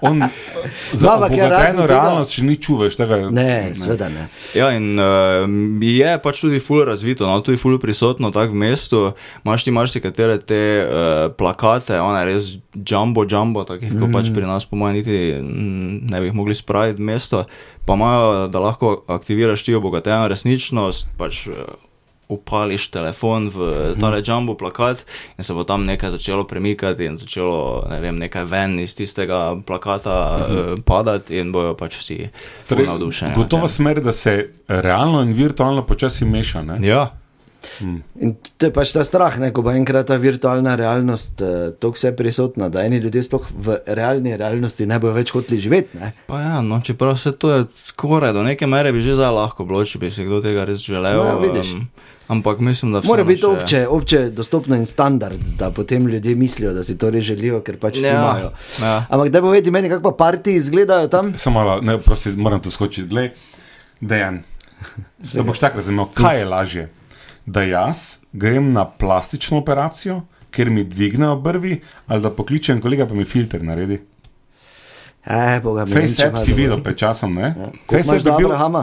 [SPEAKER 2] On, za
[SPEAKER 1] Ampak ja, razen
[SPEAKER 2] obogateno
[SPEAKER 1] tega-
[SPEAKER 2] realnost še ni čuveš. Tega,
[SPEAKER 1] Ne, seveda ne.
[SPEAKER 3] Ja, in uh, je pač tudi ful razvito, no, tudi ful prisotno tako v mestu. Máš ti marsikatere te uh, plakate, one res jumbo, jumbo, takih, mm. ko pač pri nas, po mojem, niti mm, ne bi jih mogli spraviti v mesto. Pa imajo, da lahko aktiviraš ti obogateno resničnost, pač uh, upališ telefon v
[SPEAKER 2] Mhm.
[SPEAKER 3] tale jumbo plakat in se bo tam nekaj začelo premikati in začelo, ne vem, nekaj ven iz tistega plakata uh, padati in bojo pač vsi ful
[SPEAKER 2] Mhm. Torej,
[SPEAKER 3] navdušeni. nad
[SPEAKER 2] Gotovo
[SPEAKER 3] tem.
[SPEAKER 2] smer, da se realno in virtualno počasi meša. Ne?
[SPEAKER 3] Ja.
[SPEAKER 1] In to je pač ta strah, ne, ko bo enkrat ta virtualna realnost eh, tako vse prisotna, da eni ljudje sploh v realni realnosti ne bodo več hoteli živeti. Ne.
[SPEAKER 3] Pa ja, no, čeprav vse to je skoraj do neke mere bi že zdaj lahko bilo, če bi si kdo tega res želel.
[SPEAKER 1] No, ja, vidiš.
[SPEAKER 3] em, ampak mislim, da vse.
[SPEAKER 1] Mora biti obče, obče dostopno in standard, da potem ljudje mislijo, da si to res želijo, ker pač vsi
[SPEAKER 3] Ja,
[SPEAKER 1] imajo.
[SPEAKER 3] ja.
[SPEAKER 1] Ampak da bo vedeti meni, kako pa parti izgledajo tam.
[SPEAKER 2] Samo malo, ne, prosim, moram to skočiti. Glej, dejan, da boš tako razumel, kaj je lažje. Da jaz grem na plastično operacijo, ker mi dvignejo brvi, ali da pokličem kolega, pa mi filter naredi.
[SPEAKER 1] Eh, boga, mi
[SPEAKER 2] FaceApp si
[SPEAKER 1] videl.
[SPEAKER 2] videl pred časom, ne?
[SPEAKER 1] Kaj se je
[SPEAKER 2] FaceApp je
[SPEAKER 1] zgodilo?
[SPEAKER 2] bil-
[SPEAKER 1] Abrahama,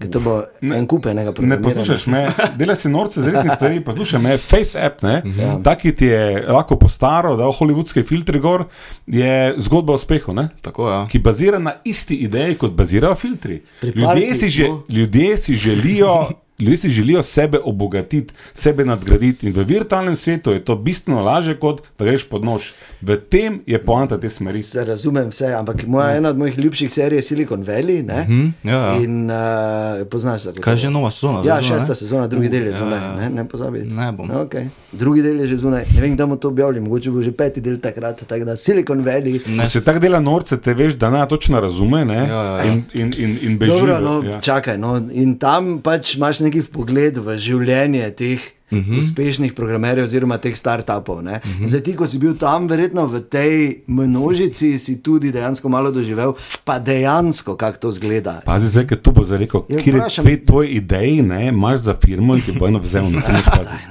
[SPEAKER 1] ker to bo Torej, ne, en kup enega
[SPEAKER 2] Ne
[SPEAKER 1] problema.
[SPEAKER 2] poslušaš me, dela si norce z resnih stvari, poslušaj me, FaceApp, ne, ja. taki ti je lahko postaro, da holivudske filtre gor, je zgodba o uspehu, ne?
[SPEAKER 3] Tako ja.
[SPEAKER 2] ki bazira na isti ideji, kot bazirajo filtri.
[SPEAKER 1] Pri
[SPEAKER 2] Ljudje
[SPEAKER 1] parki,
[SPEAKER 2] si, že,
[SPEAKER 1] no.
[SPEAKER 2] ljudje si želijo Ljudje si želijo sebe obogatiti, sebe nadgraditi in v virtualnem svetu je to bistveno lažje, kot da greš pod nož. V tem je poanta te smeri.
[SPEAKER 1] Se razumem vse, ampak moja, ena od mojih ljubših serij je Silicon Valley. Ne?
[SPEAKER 3] Ja. Mhm, ja, ja.
[SPEAKER 1] In uh, poznaš tako.
[SPEAKER 3] Kaj je že nova sezona?
[SPEAKER 1] Ja,
[SPEAKER 3] zdaj, ne? ja,
[SPEAKER 1] šesta sezona, drugi del je zunaj, ne, ne pozabi.
[SPEAKER 3] Ne bom.
[SPEAKER 1] Okay. Drugi del je že zunaj, ne vem, kdaj bomo to objavili, mogoče bo že peti del takrat, tako da Silicon Valley.
[SPEAKER 2] Če se tako dela norce, te veš, da ne točno razume ne?
[SPEAKER 3] Ja, ja, ja.
[SPEAKER 2] In, in, in, in beži.
[SPEAKER 1] Dobro,
[SPEAKER 2] v-
[SPEAKER 1] no,
[SPEAKER 2] ja.
[SPEAKER 1] ja. čakaj, no, in tam pač imaš neki pogled v življenje teh uh -huh. uspešnih programerjev, oziroma teh startupov. Uh -huh. Zdaj, ti, ko si bil tam, verjetno v tej množici, si tudi dejansko malo doživel, pa dejansko, kako to zgleda.
[SPEAKER 2] Pazi, zdaj, ker tu bo zarekel,
[SPEAKER 1] Ja,
[SPEAKER 2] kje je
[SPEAKER 1] vprašam-
[SPEAKER 2] dve tvoji ideji, ne, imaš za firmo in ti bo eno vzel, ne moreš paziti.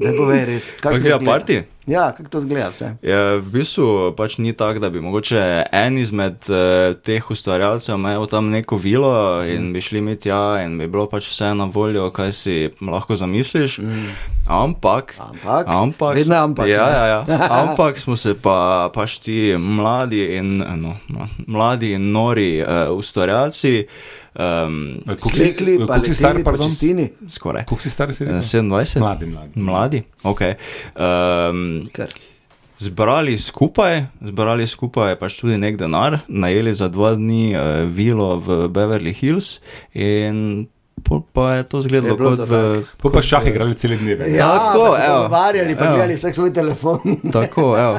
[SPEAKER 1] Ne povej res. Kako
[SPEAKER 3] Kako
[SPEAKER 1] to
[SPEAKER 3] izgleda
[SPEAKER 1] zgleda?
[SPEAKER 3] party?
[SPEAKER 1] Ja, kako to zgleda vse.
[SPEAKER 3] Je, Ja, v bistvu pač ni tako, da bi mogoče en izmed eh, teh ustvarjalcev imel tam neko vilo in bi šli mi tja in bi bilo pač vse na voljo, kaj si lahko zamisliš. Ampak,
[SPEAKER 1] Mm. Ampak,
[SPEAKER 3] ampak,
[SPEAKER 1] vedno ampak,
[SPEAKER 3] ja,
[SPEAKER 1] ne?
[SPEAKER 3] ja, ja. ampak smo se pa pač ti mladi in, no, no, mladi in nori uh, ustvarjalci, um,
[SPEAKER 2] Kako si-
[SPEAKER 1] Skrekli, pa
[SPEAKER 2] kako si star,
[SPEAKER 1] leteli po
[SPEAKER 2] pardon?
[SPEAKER 1] Palestini.
[SPEAKER 3] skoraj.
[SPEAKER 2] Koliko si star, si
[SPEAKER 3] Eh,
[SPEAKER 2] rekel?
[SPEAKER 3] 27?
[SPEAKER 2] Mladi, mladi.
[SPEAKER 3] Mladi, ok. Um,
[SPEAKER 1] Kar.
[SPEAKER 3] Zbrali skupaj, zbrali skupaj pač tudi nek denar, najeli za dva dni uh, vilo v Beverly Hills in pol pa je to izgledalo
[SPEAKER 1] Je bilo
[SPEAKER 3] kot
[SPEAKER 1] to
[SPEAKER 3] v.
[SPEAKER 2] Pol pa šah igrali cele dneve.
[SPEAKER 1] Ja,
[SPEAKER 3] Tako,
[SPEAKER 1] pa se
[SPEAKER 3] evo.
[SPEAKER 1] pogovarjali, pa
[SPEAKER 3] Evo.
[SPEAKER 1] gledali vsak svoj telefon.
[SPEAKER 3] Tako, evo.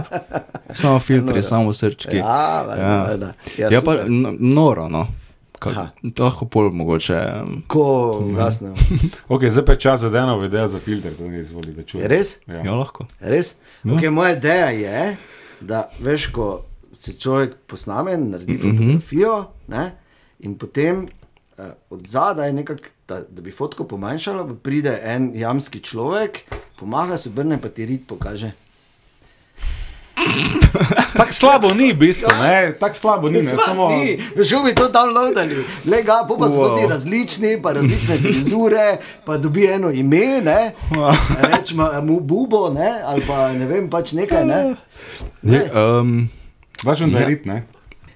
[SPEAKER 3] samo filtri, samo srčki.
[SPEAKER 1] Ja, valjda, valjda. Ja,
[SPEAKER 3] ja pa
[SPEAKER 1] super.
[SPEAKER 3] n- noro, no.
[SPEAKER 1] Aha.
[SPEAKER 3] Ka, to lahko pol mogoče.
[SPEAKER 2] Ja.
[SPEAKER 3] em,
[SPEAKER 1] Ko, jasno.
[SPEAKER 2] Ok, zdaj pa je čas za eno video za filter, to ne izvoli, da čuješ.
[SPEAKER 1] Res?
[SPEAKER 2] Ja.
[SPEAKER 3] Ja, lahko.
[SPEAKER 1] Res? No. Okay, moja ideja je, da veš, ko se človek posname, naredi
[SPEAKER 2] Mhm.
[SPEAKER 1] fotografijo ne, in potem eh, od zadaj, nekako, da, da bi fotko pomanjšala, pa pride en jamski človek, pomaga se, brne pa ti rit pokaže.
[SPEAKER 2] Tako slabo ni, v bistvu, ne, tako slabo ni, ne,
[SPEAKER 1] Sva
[SPEAKER 2] samo.
[SPEAKER 1] Ja. Ni, veš, kako bi to downloadali. Le ga, pol pa so wow. ti različni, pa različne frizure, pa dobi eno ime, ne. Wow. Rečemo eh, mu bubo, ne, ali pa ne vem, pač nekaj, ne.
[SPEAKER 3] Je, um,
[SPEAKER 2] Važno, da je rit, ne.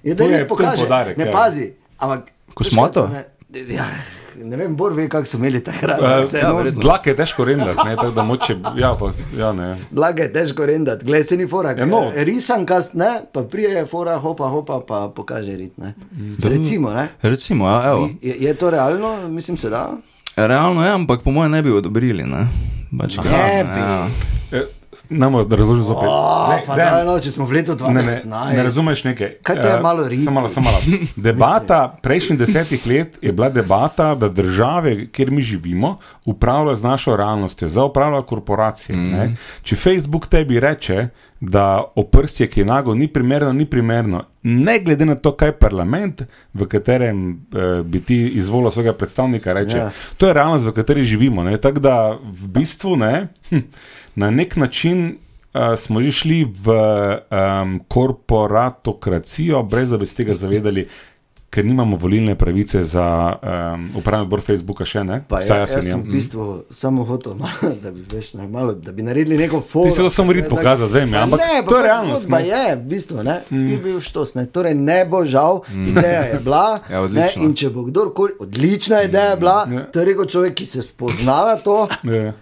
[SPEAKER 1] Je da
[SPEAKER 2] To je-
[SPEAKER 1] res
[SPEAKER 2] to je
[SPEAKER 1] pokaže,
[SPEAKER 2] poudarek,
[SPEAKER 1] ne
[SPEAKER 2] ja.
[SPEAKER 1] pazi. Ampak,
[SPEAKER 3] Kosmato?
[SPEAKER 1] veš kaj, ne- Ja, ne vem, Bor ve, kako so imeli takrat.
[SPEAKER 2] Eh,
[SPEAKER 1] Uh, ja,
[SPEAKER 2] no, Dlake je težko rendati, ne, tako da moče, ja, pa, ja, ne.
[SPEAKER 1] Blaga je težko rendati, gled se ni fora.
[SPEAKER 2] Ja, no.
[SPEAKER 1] eh, Risankast, ne, pa prije fora, hopa, hopa, pa pokaže rit. Ne. Recimo, ne.
[SPEAKER 3] recimo, ja, evo.
[SPEAKER 1] Je, je to realno, mislim, se da?
[SPEAKER 3] Realno je, ampak po mojem ne bi odobrili. Ne? Pač,
[SPEAKER 1] Ne
[SPEAKER 3] ja,
[SPEAKER 1] bi.
[SPEAKER 3] ja.
[SPEAKER 2] Eh, Namo razložil zopet.
[SPEAKER 1] A,
[SPEAKER 2] Ne,
[SPEAKER 1] pa
[SPEAKER 2] Dejan,
[SPEAKER 1] da, no, če smo v letu
[SPEAKER 2] Ne, ne,
[SPEAKER 1] 2012.
[SPEAKER 2] ne razumeš nekaj.
[SPEAKER 1] Kaj te je
[SPEAKER 2] Eh,
[SPEAKER 1] malo riti?
[SPEAKER 2] Samo malo, samo malo. Debata prejšnjih desetih let je bila debata, da države, kjer mi živimo, upravlja z našo realnostjo, za upravlja korporacije. Mm. Če Facebook tebi reče, da oprsje, ki je nago, ni primerno, ni primerno, ne glede na to, kaj parlament, v katerem eh, bi ti izvolil svojega predstavnika, reče,
[SPEAKER 1] Ja.
[SPEAKER 2] yeah. to je realnost, v kateri živimo. ne. Tako da v bistvu ne, hm, na nek način uh, smo že šli v um, korporatokracijo, brez da bi se tega zavedali, ker nimamo volilne pravice za um, upravni odbor Facebooka še ne.
[SPEAKER 1] Pa
[SPEAKER 2] Vsaj
[SPEAKER 1] ja,
[SPEAKER 2] jaz
[SPEAKER 1] jaz sem
[SPEAKER 2] nimam.
[SPEAKER 1] v bistvu samo hotel, malo, da bi, veš, ne, malo, da bi naredili neko forum.
[SPEAKER 2] Ti si to samo rit pokazal, vem, ja, ampak
[SPEAKER 1] ne, pa
[SPEAKER 2] to je
[SPEAKER 1] pač
[SPEAKER 2] realnost,
[SPEAKER 1] Zgodba
[SPEAKER 2] ne.
[SPEAKER 1] je, v bistvu, ne, mm. je bil štos, ne, torej ne bo žal, mm. ideja je bila.
[SPEAKER 3] Ja,
[SPEAKER 1] ne,
[SPEAKER 3] odlično.
[SPEAKER 1] in če bo kdorkoli, odlična ideja je bila,
[SPEAKER 2] Ja.
[SPEAKER 1] mm. to je rekel človek, ki se spozna na to.
[SPEAKER 2] Ja.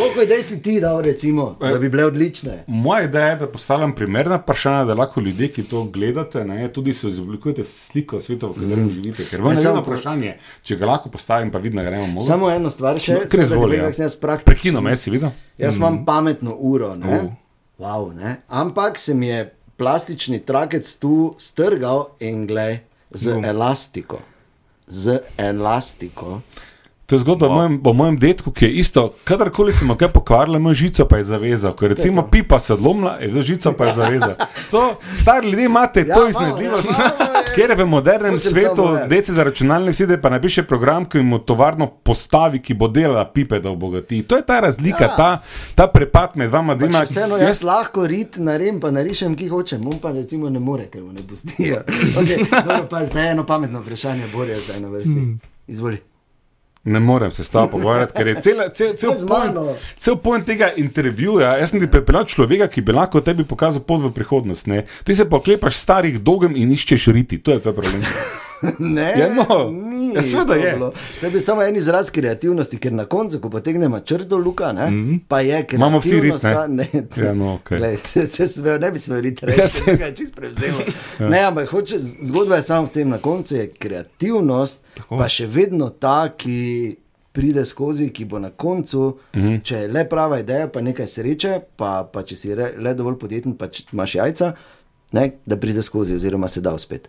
[SPEAKER 1] Koliko idej si ti dal, recimo,
[SPEAKER 2] Eh.
[SPEAKER 1] da bi bile odlične?
[SPEAKER 2] Moja ideja je, da postavljam primerna vprašanja, da lahko ljudje, ki to gledate, ne, tudi se izoblikujete sliko sveta, v katerem
[SPEAKER 1] Mhm.
[SPEAKER 2] živite. Ker vam
[SPEAKER 1] Ne,
[SPEAKER 2] je
[SPEAKER 1] samo-
[SPEAKER 2] samo vprašanje, če ga lahko postavim, pa vidim, da ga ne morem.
[SPEAKER 1] Samo eno stvar še,
[SPEAKER 2] Oh. No, ker
[SPEAKER 1] samo da ti povem,
[SPEAKER 2] izvolijo.
[SPEAKER 1] kako sem jaz praktičen.
[SPEAKER 2] Prekino me, si videl?
[SPEAKER 1] Jaz imam mm. pametno uro, ne?
[SPEAKER 3] Uh.
[SPEAKER 1] Wow, ne? ampak se mi je plastični trakec tu strgal in glej z Bum. elastiko. Z elastiko.
[SPEAKER 2] To je zgodba o mojem, o mojem detku, ki je isto, kadarkoli se mu je kaj pokvarilo, ima žico pa je zavezal. Ker recimo pipa se je odlomila, je bila žica pa je zavezal. To, stari ljudje imate ja, to
[SPEAKER 1] malo,
[SPEAKER 2] iznedljivost,
[SPEAKER 1] ja, malo je.
[SPEAKER 2] ker v modernem
[SPEAKER 1] Hočem
[SPEAKER 2] svetu
[SPEAKER 1] samo ja. reči.
[SPEAKER 2] deci za računalnik sede pa napiše program, ki mu tovarno postavi, ki bo delala pipe, da obogati. To je ta razlika, ja. ta, ta prepad med dvama
[SPEAKER 1] Pa
[SPEAKER 2] dvema.
[SPEAKER 1] če Vseeno, jaz, jaz lahko rit naredim, pa narišem, ki hočem, on pa recimo ne more, ker mu ne pustijo. Okay, dobro, pa zdaj eno pametno vprašanje, Borja, zdaj na vrsti. Izvoli.
[SPEAKER 2] Ne morem se s tabo pogovarjati, ker je cela, cel, cel,
[SPEAKER 1] Ne z
[SPEAKER 2] point,
[SPEAKER 1] mano.
[SPEAKER 2] cel point tega intervjuja. Jaz sem ti pripeljal človeka, ki bi lahko tebi pokazal pot v prihodnost. Ne? Ti se pa oklepaš starih dogem in iščeš riti. To je tvoj problem.
[SPEAKER 1] ne,
[SPEAKER 2] Ja, no.
[SPEAKER 1] ni
[SPEAKER 2] Ja, seveda
[SPEAKER 1] to
[SPEAKER 2] je.
[SPEAKER 1] bilo. To je bil samo en izraz kreativnosti, ker na koncu, ko potegnemo črto, Luka, ne, mm -hmm. pa je
[SPEAKER 2] Mhm. Imamo vsi rit,
[SPEAKER 1] kreativnost.
[SPEAKER 2] ne?
[SPEAKER 1] ta- ne,
[SPEAKER 2] Ja, no, okej.
[SPEAKER 1] Glej, se smel, ne bi smel riti, reči,
[SPEAKER 2] Ja,
[SPEAKER 1] ja,
[SPEAKER 2] se-
[SPEAKER 1] se ga čist prevzelo. ja. Ne, ampak hoče, zgodba je samo v tem, na koncu je kreativnost, Tako. pa še vedno ta, ki pride skozi, ki bo na koncu, mhm. če je le prava ideja, pa nekaj sreče, pa, pa če si re, le dovolj podjeten, pa če imaš jajca, ne, da pride skozi, oziroma se da uspet.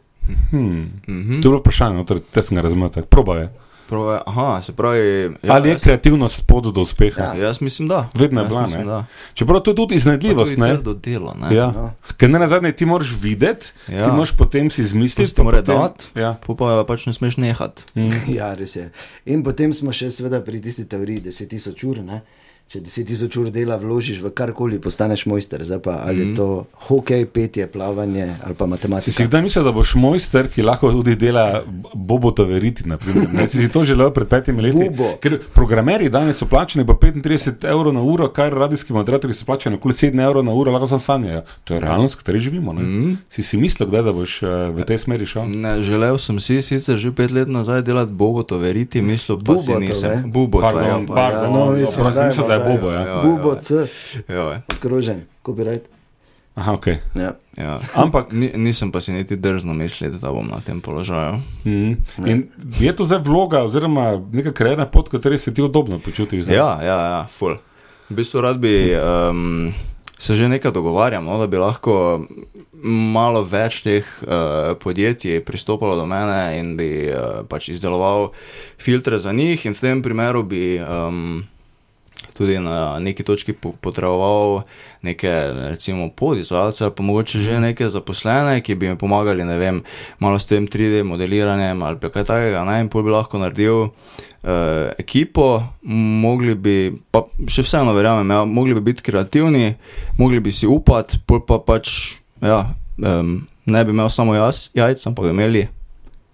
[SPEAKER 3] Mhm.
[SPEAKER 2] To je bilo vprašanje, no, torej, te sem ga razumel tako. Proba je.
[SPEAKER 3] Prove, aha, se pravi. Ja,
[SPEAKER 2] Ali je
[SPEAKER 3] jaz,
[SPEAKER 2] kreativnost pot do uspeha? Ja.
[SPEAKER 3] jaz mislim, da.
[SPEAKER 2] Vedno je
[SPEAKER 3] Jaz
[SPEAKER 2] bila,
[SPEAKER 3] mislim,
[SPEAKER 2] ne?
[SPEAKER 3] da.
[SPEAKER 2] Čeprav to je tudi iznajdljivost, ne?
[SPEAKER 3] Do dela, ne?
[SPEAKER 2] Ja. No. Ker ne na zadnje ti moraš videti, ja.
[SPEAKER 3] Ja.
[SPEAKER 2] ti moraš potem si izmisliti,
[SPEAKER 3] Tisti mora
[SPEAKER 2] potem-
[SPEAKER 3] dati,
[SPEAKER 2] Ja.
[SPEAKER 3] pol pa pač ne smeš nehati.
[SPEAKER 1] Ja, res je. In potem smo še seveda pri tisti teoriji 10.000 ur. Ne? Če 10.000 ur dela vložiš v karkoli, postaneš mojster. Zdaj pa ali mm. je to hokej, petje, plavanje ali pa
[SPEAKER 2] Si si
[SPEAKER 1] matematika.
[SPEAKER 2] kdaj mislil, da boš mojster, ki lahko tudi dela Bobota veriti? naprimer, ne? Si si to želel pred petimi leti?
[SPEAKER 1] Bobo.
[SPEAKER 2] Ker programerji danes so plačani po 35 evrov na uro, kar radijski moderatorji so plačani okoli 7 evrov na uro, lahko sam sanjajo. To je realnost, v kateri živimo. Mm. Si si mislil, kdaj, da boš eh, v tej smeri šel?
[SPEAKER 3] Ne, želel sem si sicer že pet let nazaj delati Bogoto, veriti, mislil pa si
[SPEAKER 1] Buboto, ne?
[SPEAKER 3] nisem. Buboto, ja,
[SPEAKER 2] Pardon,
[SPEAKER 3] pa-
[SPEAKER 2] pardon,
[SPEAKER 1] ja, no,
[SPEAKER 2] no,
[SPEAKER 1] mislim,
[SPEAKER 2] oprosti,
[SPEAKER 1] daj,
[SPEAKER 2] mislim, da je
[SPEAKER 1] nazaj.
[SPEAKER 2] Bobo. Ja.
[SPEAKER 1] Bubo, C,
[SPEAKER 3] Joj,
[SPEAKER 1] krožen, copyright.
[SPEAKER 2] Aha, okay.
[SPEAKER 1] Ja.
[SPEAKER 3] ja.
[SPEAKER 2] Ampak
[SPEAKER 3] Ni, nisem pa si niti drzno misliti, da bom na tem položaju.
[SPEAKER 2] Mm. In je to zdaj vloga, oziroma neka krajna pot, v kateri se ti udobno počutiš? zdaj?
[SPEAKER 3] Ja, ja, ja ful. V bistvu rad bi um, se že nekaj dogovarjal, no, da bi lahko malo več teh uh, podjetij pristopalo do mene in bi uh, pač izdeloval filtre za njih, in v tem primeru bi. Um, Tudi na neki točki po- potreboval neke, recimo, podizvajalce, ali pa mogoče že neke zaposlene, ki bi mi pomagali, ne vem, malo s tem 3D modeliranjem ali pa kaj takega. Ne? In pol bi lahko naredil eh, ekipo, mogli bi, pa še vseeno verjamem, ja, mogli bi biti kreativni, mogli bi si upati, pol pa pač, ja, um, ne bi imel samo jaz, jajc, ampak bi imeli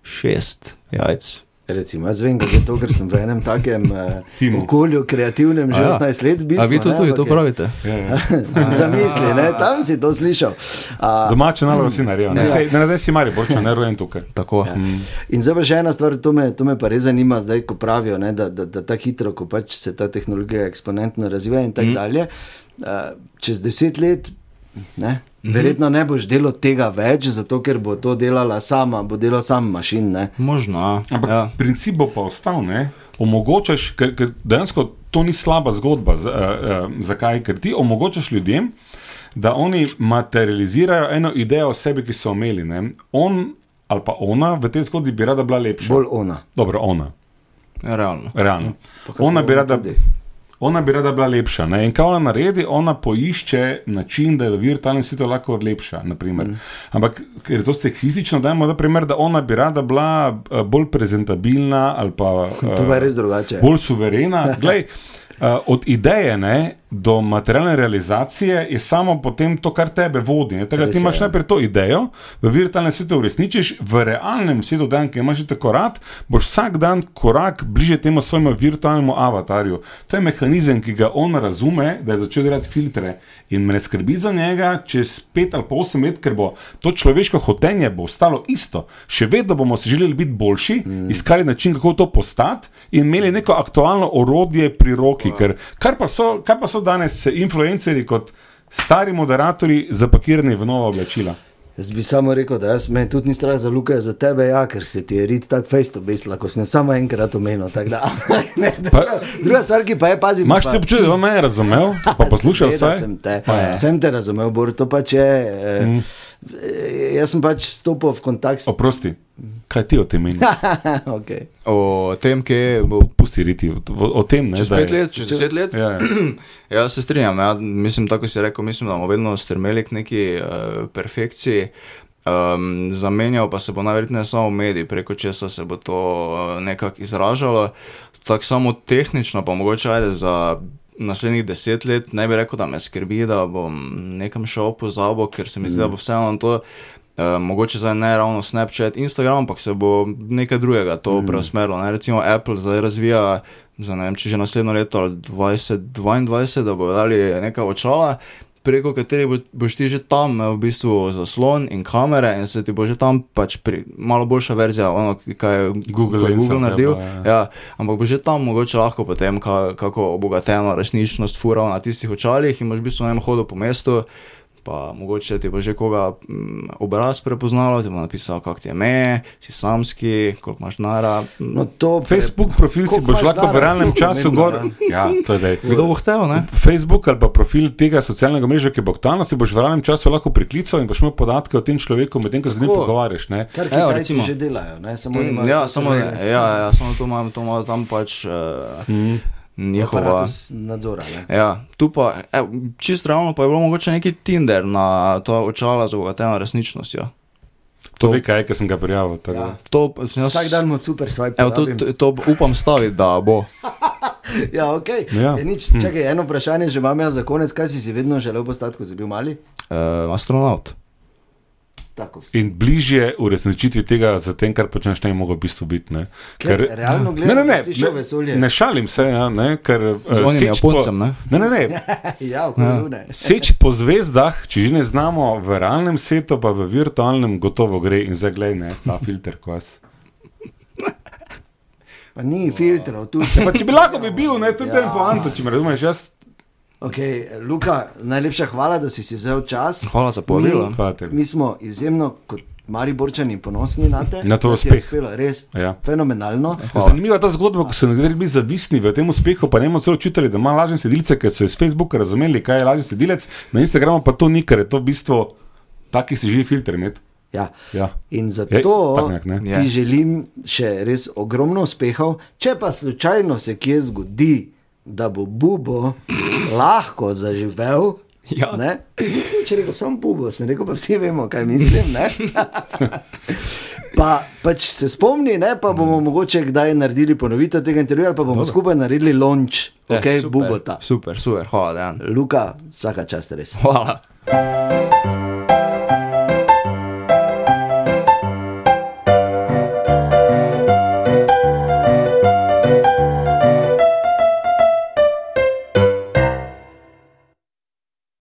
[SPEAKER 3] šest jajc.
[SPEAKER 1] Recimo, jaz vem, kako je to, ker sem v enem takem eh,
[SPEAKER 2] Timu.
[SPEAKER 1] okolju, kreativnem, že
[SPEAKER 3] A ja.
[SPEAKER 1] 18 let. v Bistvu,
[SPEAKER 3] A vi to
[SPEAKER 1] ne,
[SPEAKER 3] tudi
[SPEAKER 1] ampak
[SPEAKER 3] to
[SPEAKER 1] je-
[SPEAKER 3] pravite?
[SPEAKER 2] Ja, ja.
[SPEAKER 1] Zamisli, ne, tam si to slišal. A,
[SPEAKER 2] Domače naloge si naredil, ne
[SPEAKER 1] Ja.
[SPEAKER 2] Saj- ne zdaj si mari, boš ne rojen tukaj.
[SPEAKER 3] Tako. Ja.
[SPEAKER 1] In zdaj pa še ena stvar, to me, to me pa res zanima, zdaj, ko pravijo, ne, da, da, da tako hitro, ko pač se ta tehnologija eksponentno razvija in tako mm. dalje. Uh, čez deset let. Ne? Verjetno ne boš delal tega več, zato ker bo to delala sama, bo delal sam mašin. Ne?
[SPEAKER 3] Možno. a.
[SPEAKER 2] Ampak
[SPEAKER 3] ja.
[SPEAKER 2] ja. princip bo pa ostal, ne? omogočaš, ker, ker dejansko to ni slaba zgodba. Z, uh, uh, zakaj? Ker ti omogočaš ljudem, da oni materializirajo eno idejo o sebi, ki so jo imeli. Ne? On ali pa ona v tej zgodbi bi rada bila lepša.
[SPEAKER 1] Bolj ona.
[SPEAKER 2] Dobro, ona.
[SPEAKER 3] Ja, realno.
[SPEAKER 2] Realno. Ona bi, rada, ona bi rada bila lepša. Ne? In kaj ona naredi, ona poišče način, da je v virtualnem svetu lahko lepša. naprimer.
[SPEAKER 1] Mm.
[SPEAKER 2] Ampak ker je to seksistično, dajmo da primer, da ona bi rada bila eh, bolj prezentabilna ali pa
[SPEAKER 1] To pa
[SPEAKER 2] eh,
[SPEAKER 1] je res drugače.
[SPEAKER 2] bolj suverena. Glej, eh, od ideje ne, do materialne realizacije je samo potem to, kar tebe vodi. ne. Tega,
[SPEAKER 1] Res
[SPEAKER 2] ti
[SPEAKER 1] je,
[SPEAKER 2] imaš
[SPEAKER 1] ja.
[SPEAKER 2] najprej to idejo, v virtualnem svetu uresničiš, v realnem svetu, dan, ki imaš že tako rad, boš vsak dan korak bliže temu svojemu virtualnemu avatarju. To je mehanizem, ki ga on razume, da je začel delati filtre. In me ne skrbi za njega čez pet ali pa osem let, ker bo to človeško hotenje bo ostalo isto. Še vedno bomo si želeli biti boljši, mm. iskali način, kako to postati, in imeli neko aktualno orodje pri roki. Ker, kar, pa so, kar pa so danes influencerji kot stari moderatorji zapakirani v nova oblačila.
[SPEAKER 1] Jaz bi samo rekel, da jaz me tudi ni strah za Luka, za tebe, ja, ker se ti je rit tako face to face, lahko sem samo enkrat omenil. tako Da, ne, druga, druga stvar, ki pa je, pazi,
[SPEAKER 2] Imaš
[SPEAKER 1] pa,
[SPEAKER 2] ti občutek, da me je razumel, pa poslušal ja.
[SPEAKER 1] Seveda
[SPEAKER 2] vse?
[SPEAKER 1] Sem te, sem te razumel, Bor, to pač je. Eh, mm. Jaz sem pač stopil v kontakt s
[SPEAKER 2] Oprosti, kaj ti o tem meni?
[SPEAKER 1] tem. okay.
[SPEAKER 3] O tem, kje bo
[SPEAKER 2] Pusti riti, o- o tem ne.
[SPEAKER 3] Čez
[SPEAKER 2] da je-
[SPEAKER 3] pet let, čez deset let.
[SPEAKER 2] Ja, ja.
[SPEAKER 3] Ja, se strinjam. Ja, mislim, tako kot si rekel, mislim, da bomo vedno strmeli k neki uh, perfekciji. Um, zamenjal pa se bo najverjetneje samo medij, preko česa se bo to uh, nekako izražalo. Tako samo tehnično, pa mogoče ajde za naslednjih deset let. Ne bi rekel, da me skrbi, da bom nekam šel pozabo, ker se mi zdi, da
[SPEAKER 2] Mm.
[SPEAKER 3] bo vseeno to. Uh, mogoče zdaj ne ravno Snapchat, Instagram, ampak se bo nekaj drugega
[SPEAKER 2] Mhm.
[SPEAKER 3] to mm. preusmerilo. Ne? Recimo Apple zdaj razvija, za, ne vem, če že naslednjo leto ali 2022, da bodo dali neka očala, preko katerih bo, boš ti že tam imel v bistvu zaslon in kamere in se ti bo že tam pač pri, malo boljša verzija, ono, kaj je
[SPEAKER 2] Google
[SPEAKER 3] kaj
[SPEAKER 2] Lens
[SPEAKER 3] je Google
[SPEAKER 2] ali
[SPEAKER 3] naredil.
[SPEAKER 2] pa, ja.
[SPEAKER 3] Ja. Ja, ampak bo že tam mogoče lahko potem ka, kako obogateno resničnost fural na tistih očalih in boš v bistvu na enem hodu po mestu. Pa mogoče ti bo že koga mm, obraz prepoznalo, ti bo napisal, kak ti je ime, si samski, koliko imaš mm. nara.
[SPEAKER 1] No, to
[SPEAKER 2] Facebook profil si
[SPEAKER 1] Koliko
[SPEAKER 2] boš
[SPEAKER 1] imaš
[SPEAKER 2] lahko v
[SPEAKER 1] dana,
[SPEAKER 2] realnem
[SPEAKER 1] sploh
[SPEAKER 2] času
[SPEAKER 1] pomembno,
[SPEAKER 2] gor. Ja, to je dejstvo.
[SPEAKER 3] Kdo bo hotel, ne?
[SPEAKER 2] Facebook ali pa profil tega socialnega mreža, ki je Bogdan, si boš v realnem času lahko priklical in boš imel podatke o tem človeku, medtem ko se z njim
[SPEAKER 3] Tako.
[SPEAKER 2] pogovarjaš. Ne?
[SPEAKER 1] Kar
[SPEAKER 3] Evo,
[SPEAKER 1] Kitajci
[SPEAKER 3] recimo.
[SPEAKER 1] že delajo, ne? samo
[SPEAKER 3] Mm,
[SPEAKER 1] imajo torej
[SPEAKER 3] Ja,
[SPEAKER 1] to
[SPEAKER 3] samo,
[SPEAKER 1] surveillance.
[SPEAKER 3] ja, ja, samo to imam, to imam tam pač uh, mm. njihova.
[SPEAKER 1] Aparatus nadzora. Ne?
[SPEAKER 3] Ja, tu pa, eh, čist ravno pa je bilo mogoče neki Tinder na to očala z obogateno resničnostjo.
[SPEAKER 2] To ve kaj, ker sem ga prijavil. tako da.
[SPEAKER 1] Ja.
[SPEAKER 3] To, sem jaz,
[SPEAKER 1] Vsak dan mu super svoj
[SPEAKER 3] No, Evo, to, to, to upam staviti, da bo.
[SPEAKER 1] Ja, okay.
[SPEAKER 2] Ja.
[SPEAKER 1] ja. E, nič, čakaj, eno vprašanje že imam jaz za konec. Kaj si si vedno želel postati, ko si bil mali?
[SPEAKER 3] Uh, astronaut.
[SPEAKER 1] Tako vse.
[SPEAKER 2] In bližje uresničitvi tega, za tem, kar počneš, ne bi moglo v bistvu biti. Ne?
[SPEAKER 1] Ker realno
[SPEAKER 2] ne, ne,
[SPEAKER 1] gledano
[SPEAKER 2] ne,
[SPEAKER 1] si šel v vesolje.
[SPEAKER 2] ne, ne šalim se, ja, ne, ker eh,
[SPEAKER 3] Z onim
[SPEAKER 2] seč
[SPEAKER 3] Japoncem, ne?
[SPEAKER 2] ne, ne, ne,
[SPEAKER 1] ja, okoli lune.
[SPEAKER 2] Seč po zvezdah, če že ne znamo v realnem svetu, pa v virtualnem, gotovo gre in zaglej ne, ta filter kos.
[SPEAKER 1] Pa ni filtrov, tu
[SPEAKER 2] Če pa ti bi lahko bi bil, ne, tudi ja.
[SPEAKER 1] Ja.
[SPEAKER 2] po Anto, če me razumeš, jaz
[SPEAKER 1] Okay, Luka, najlepša hvala, da si si vzel čas.
[SPEAKER 3] Hvala za povabilo.
[SPEAKER 1] Mi-
[SPEAKER 2] Hvala tebi.
[SPEAKER 1] Mi smo izjemno, kot mari borčani, ponosni na te.
[SPEAKER 2] Na to
[SPEAKER 1] da ti je
[SPEAKER 2] uspeh.
[SPEAKER 1] Uspelo, res.
[SPEAKER 2] Ja.
[SPEAKER 1] Fenomenalno.
[SPEAKER 2] Zanimiva je ta zgodba, ko so nekateri bili zavisni v tem uspehu, pa ne bomo celo čutili, da ima lažen sedilce, ker so iz Facebooka razumeli, kaj je lažen sedilec, na Instagramu pa to ni, ker je to v bistvu taki si živi filter imeti.
[SPEAKER 1] Ja.
[SPEAKER 2] Ja.
[SPEAKER 1] In
[SPEAKER 2] Je,
[SPEAKER 1] zato
[SPEAKER 2] tak nekak, ne?
[SPEAKER 1] ti
[SPEAKER 3] Ja.
[SPEAKER 1] želim še res ogromno uspehov. Če pa slučajno se kje zgodi, da bo Bubo lahko zaživel.
[SPEAKER 3] Ja.
[SPEAKER 1] Ne? Nisem če rekel, sem bubo, sem rekel, pa vsi vemo, kaj mislim. ne? pa, pač se spomni, ne? pa
[SPEAKER 2] Mm.
[SPEAKER 1] bomo mogoče kdaj naredili ponovitev tega intervjuja, ali pa bomo Dobro. skupaj naredili lonč, ok,
[SPEAKER 3] Eh,
[SPEAKER 1] eh,
[SPEAKER 3] super.
[SPEAKER 1] bubota.
[SPEAKER 3] Super, super, hvala, Dejan.
[SPEAKER 1] Luka, vsaka čast res.
[SPEAKER 3] Hvala.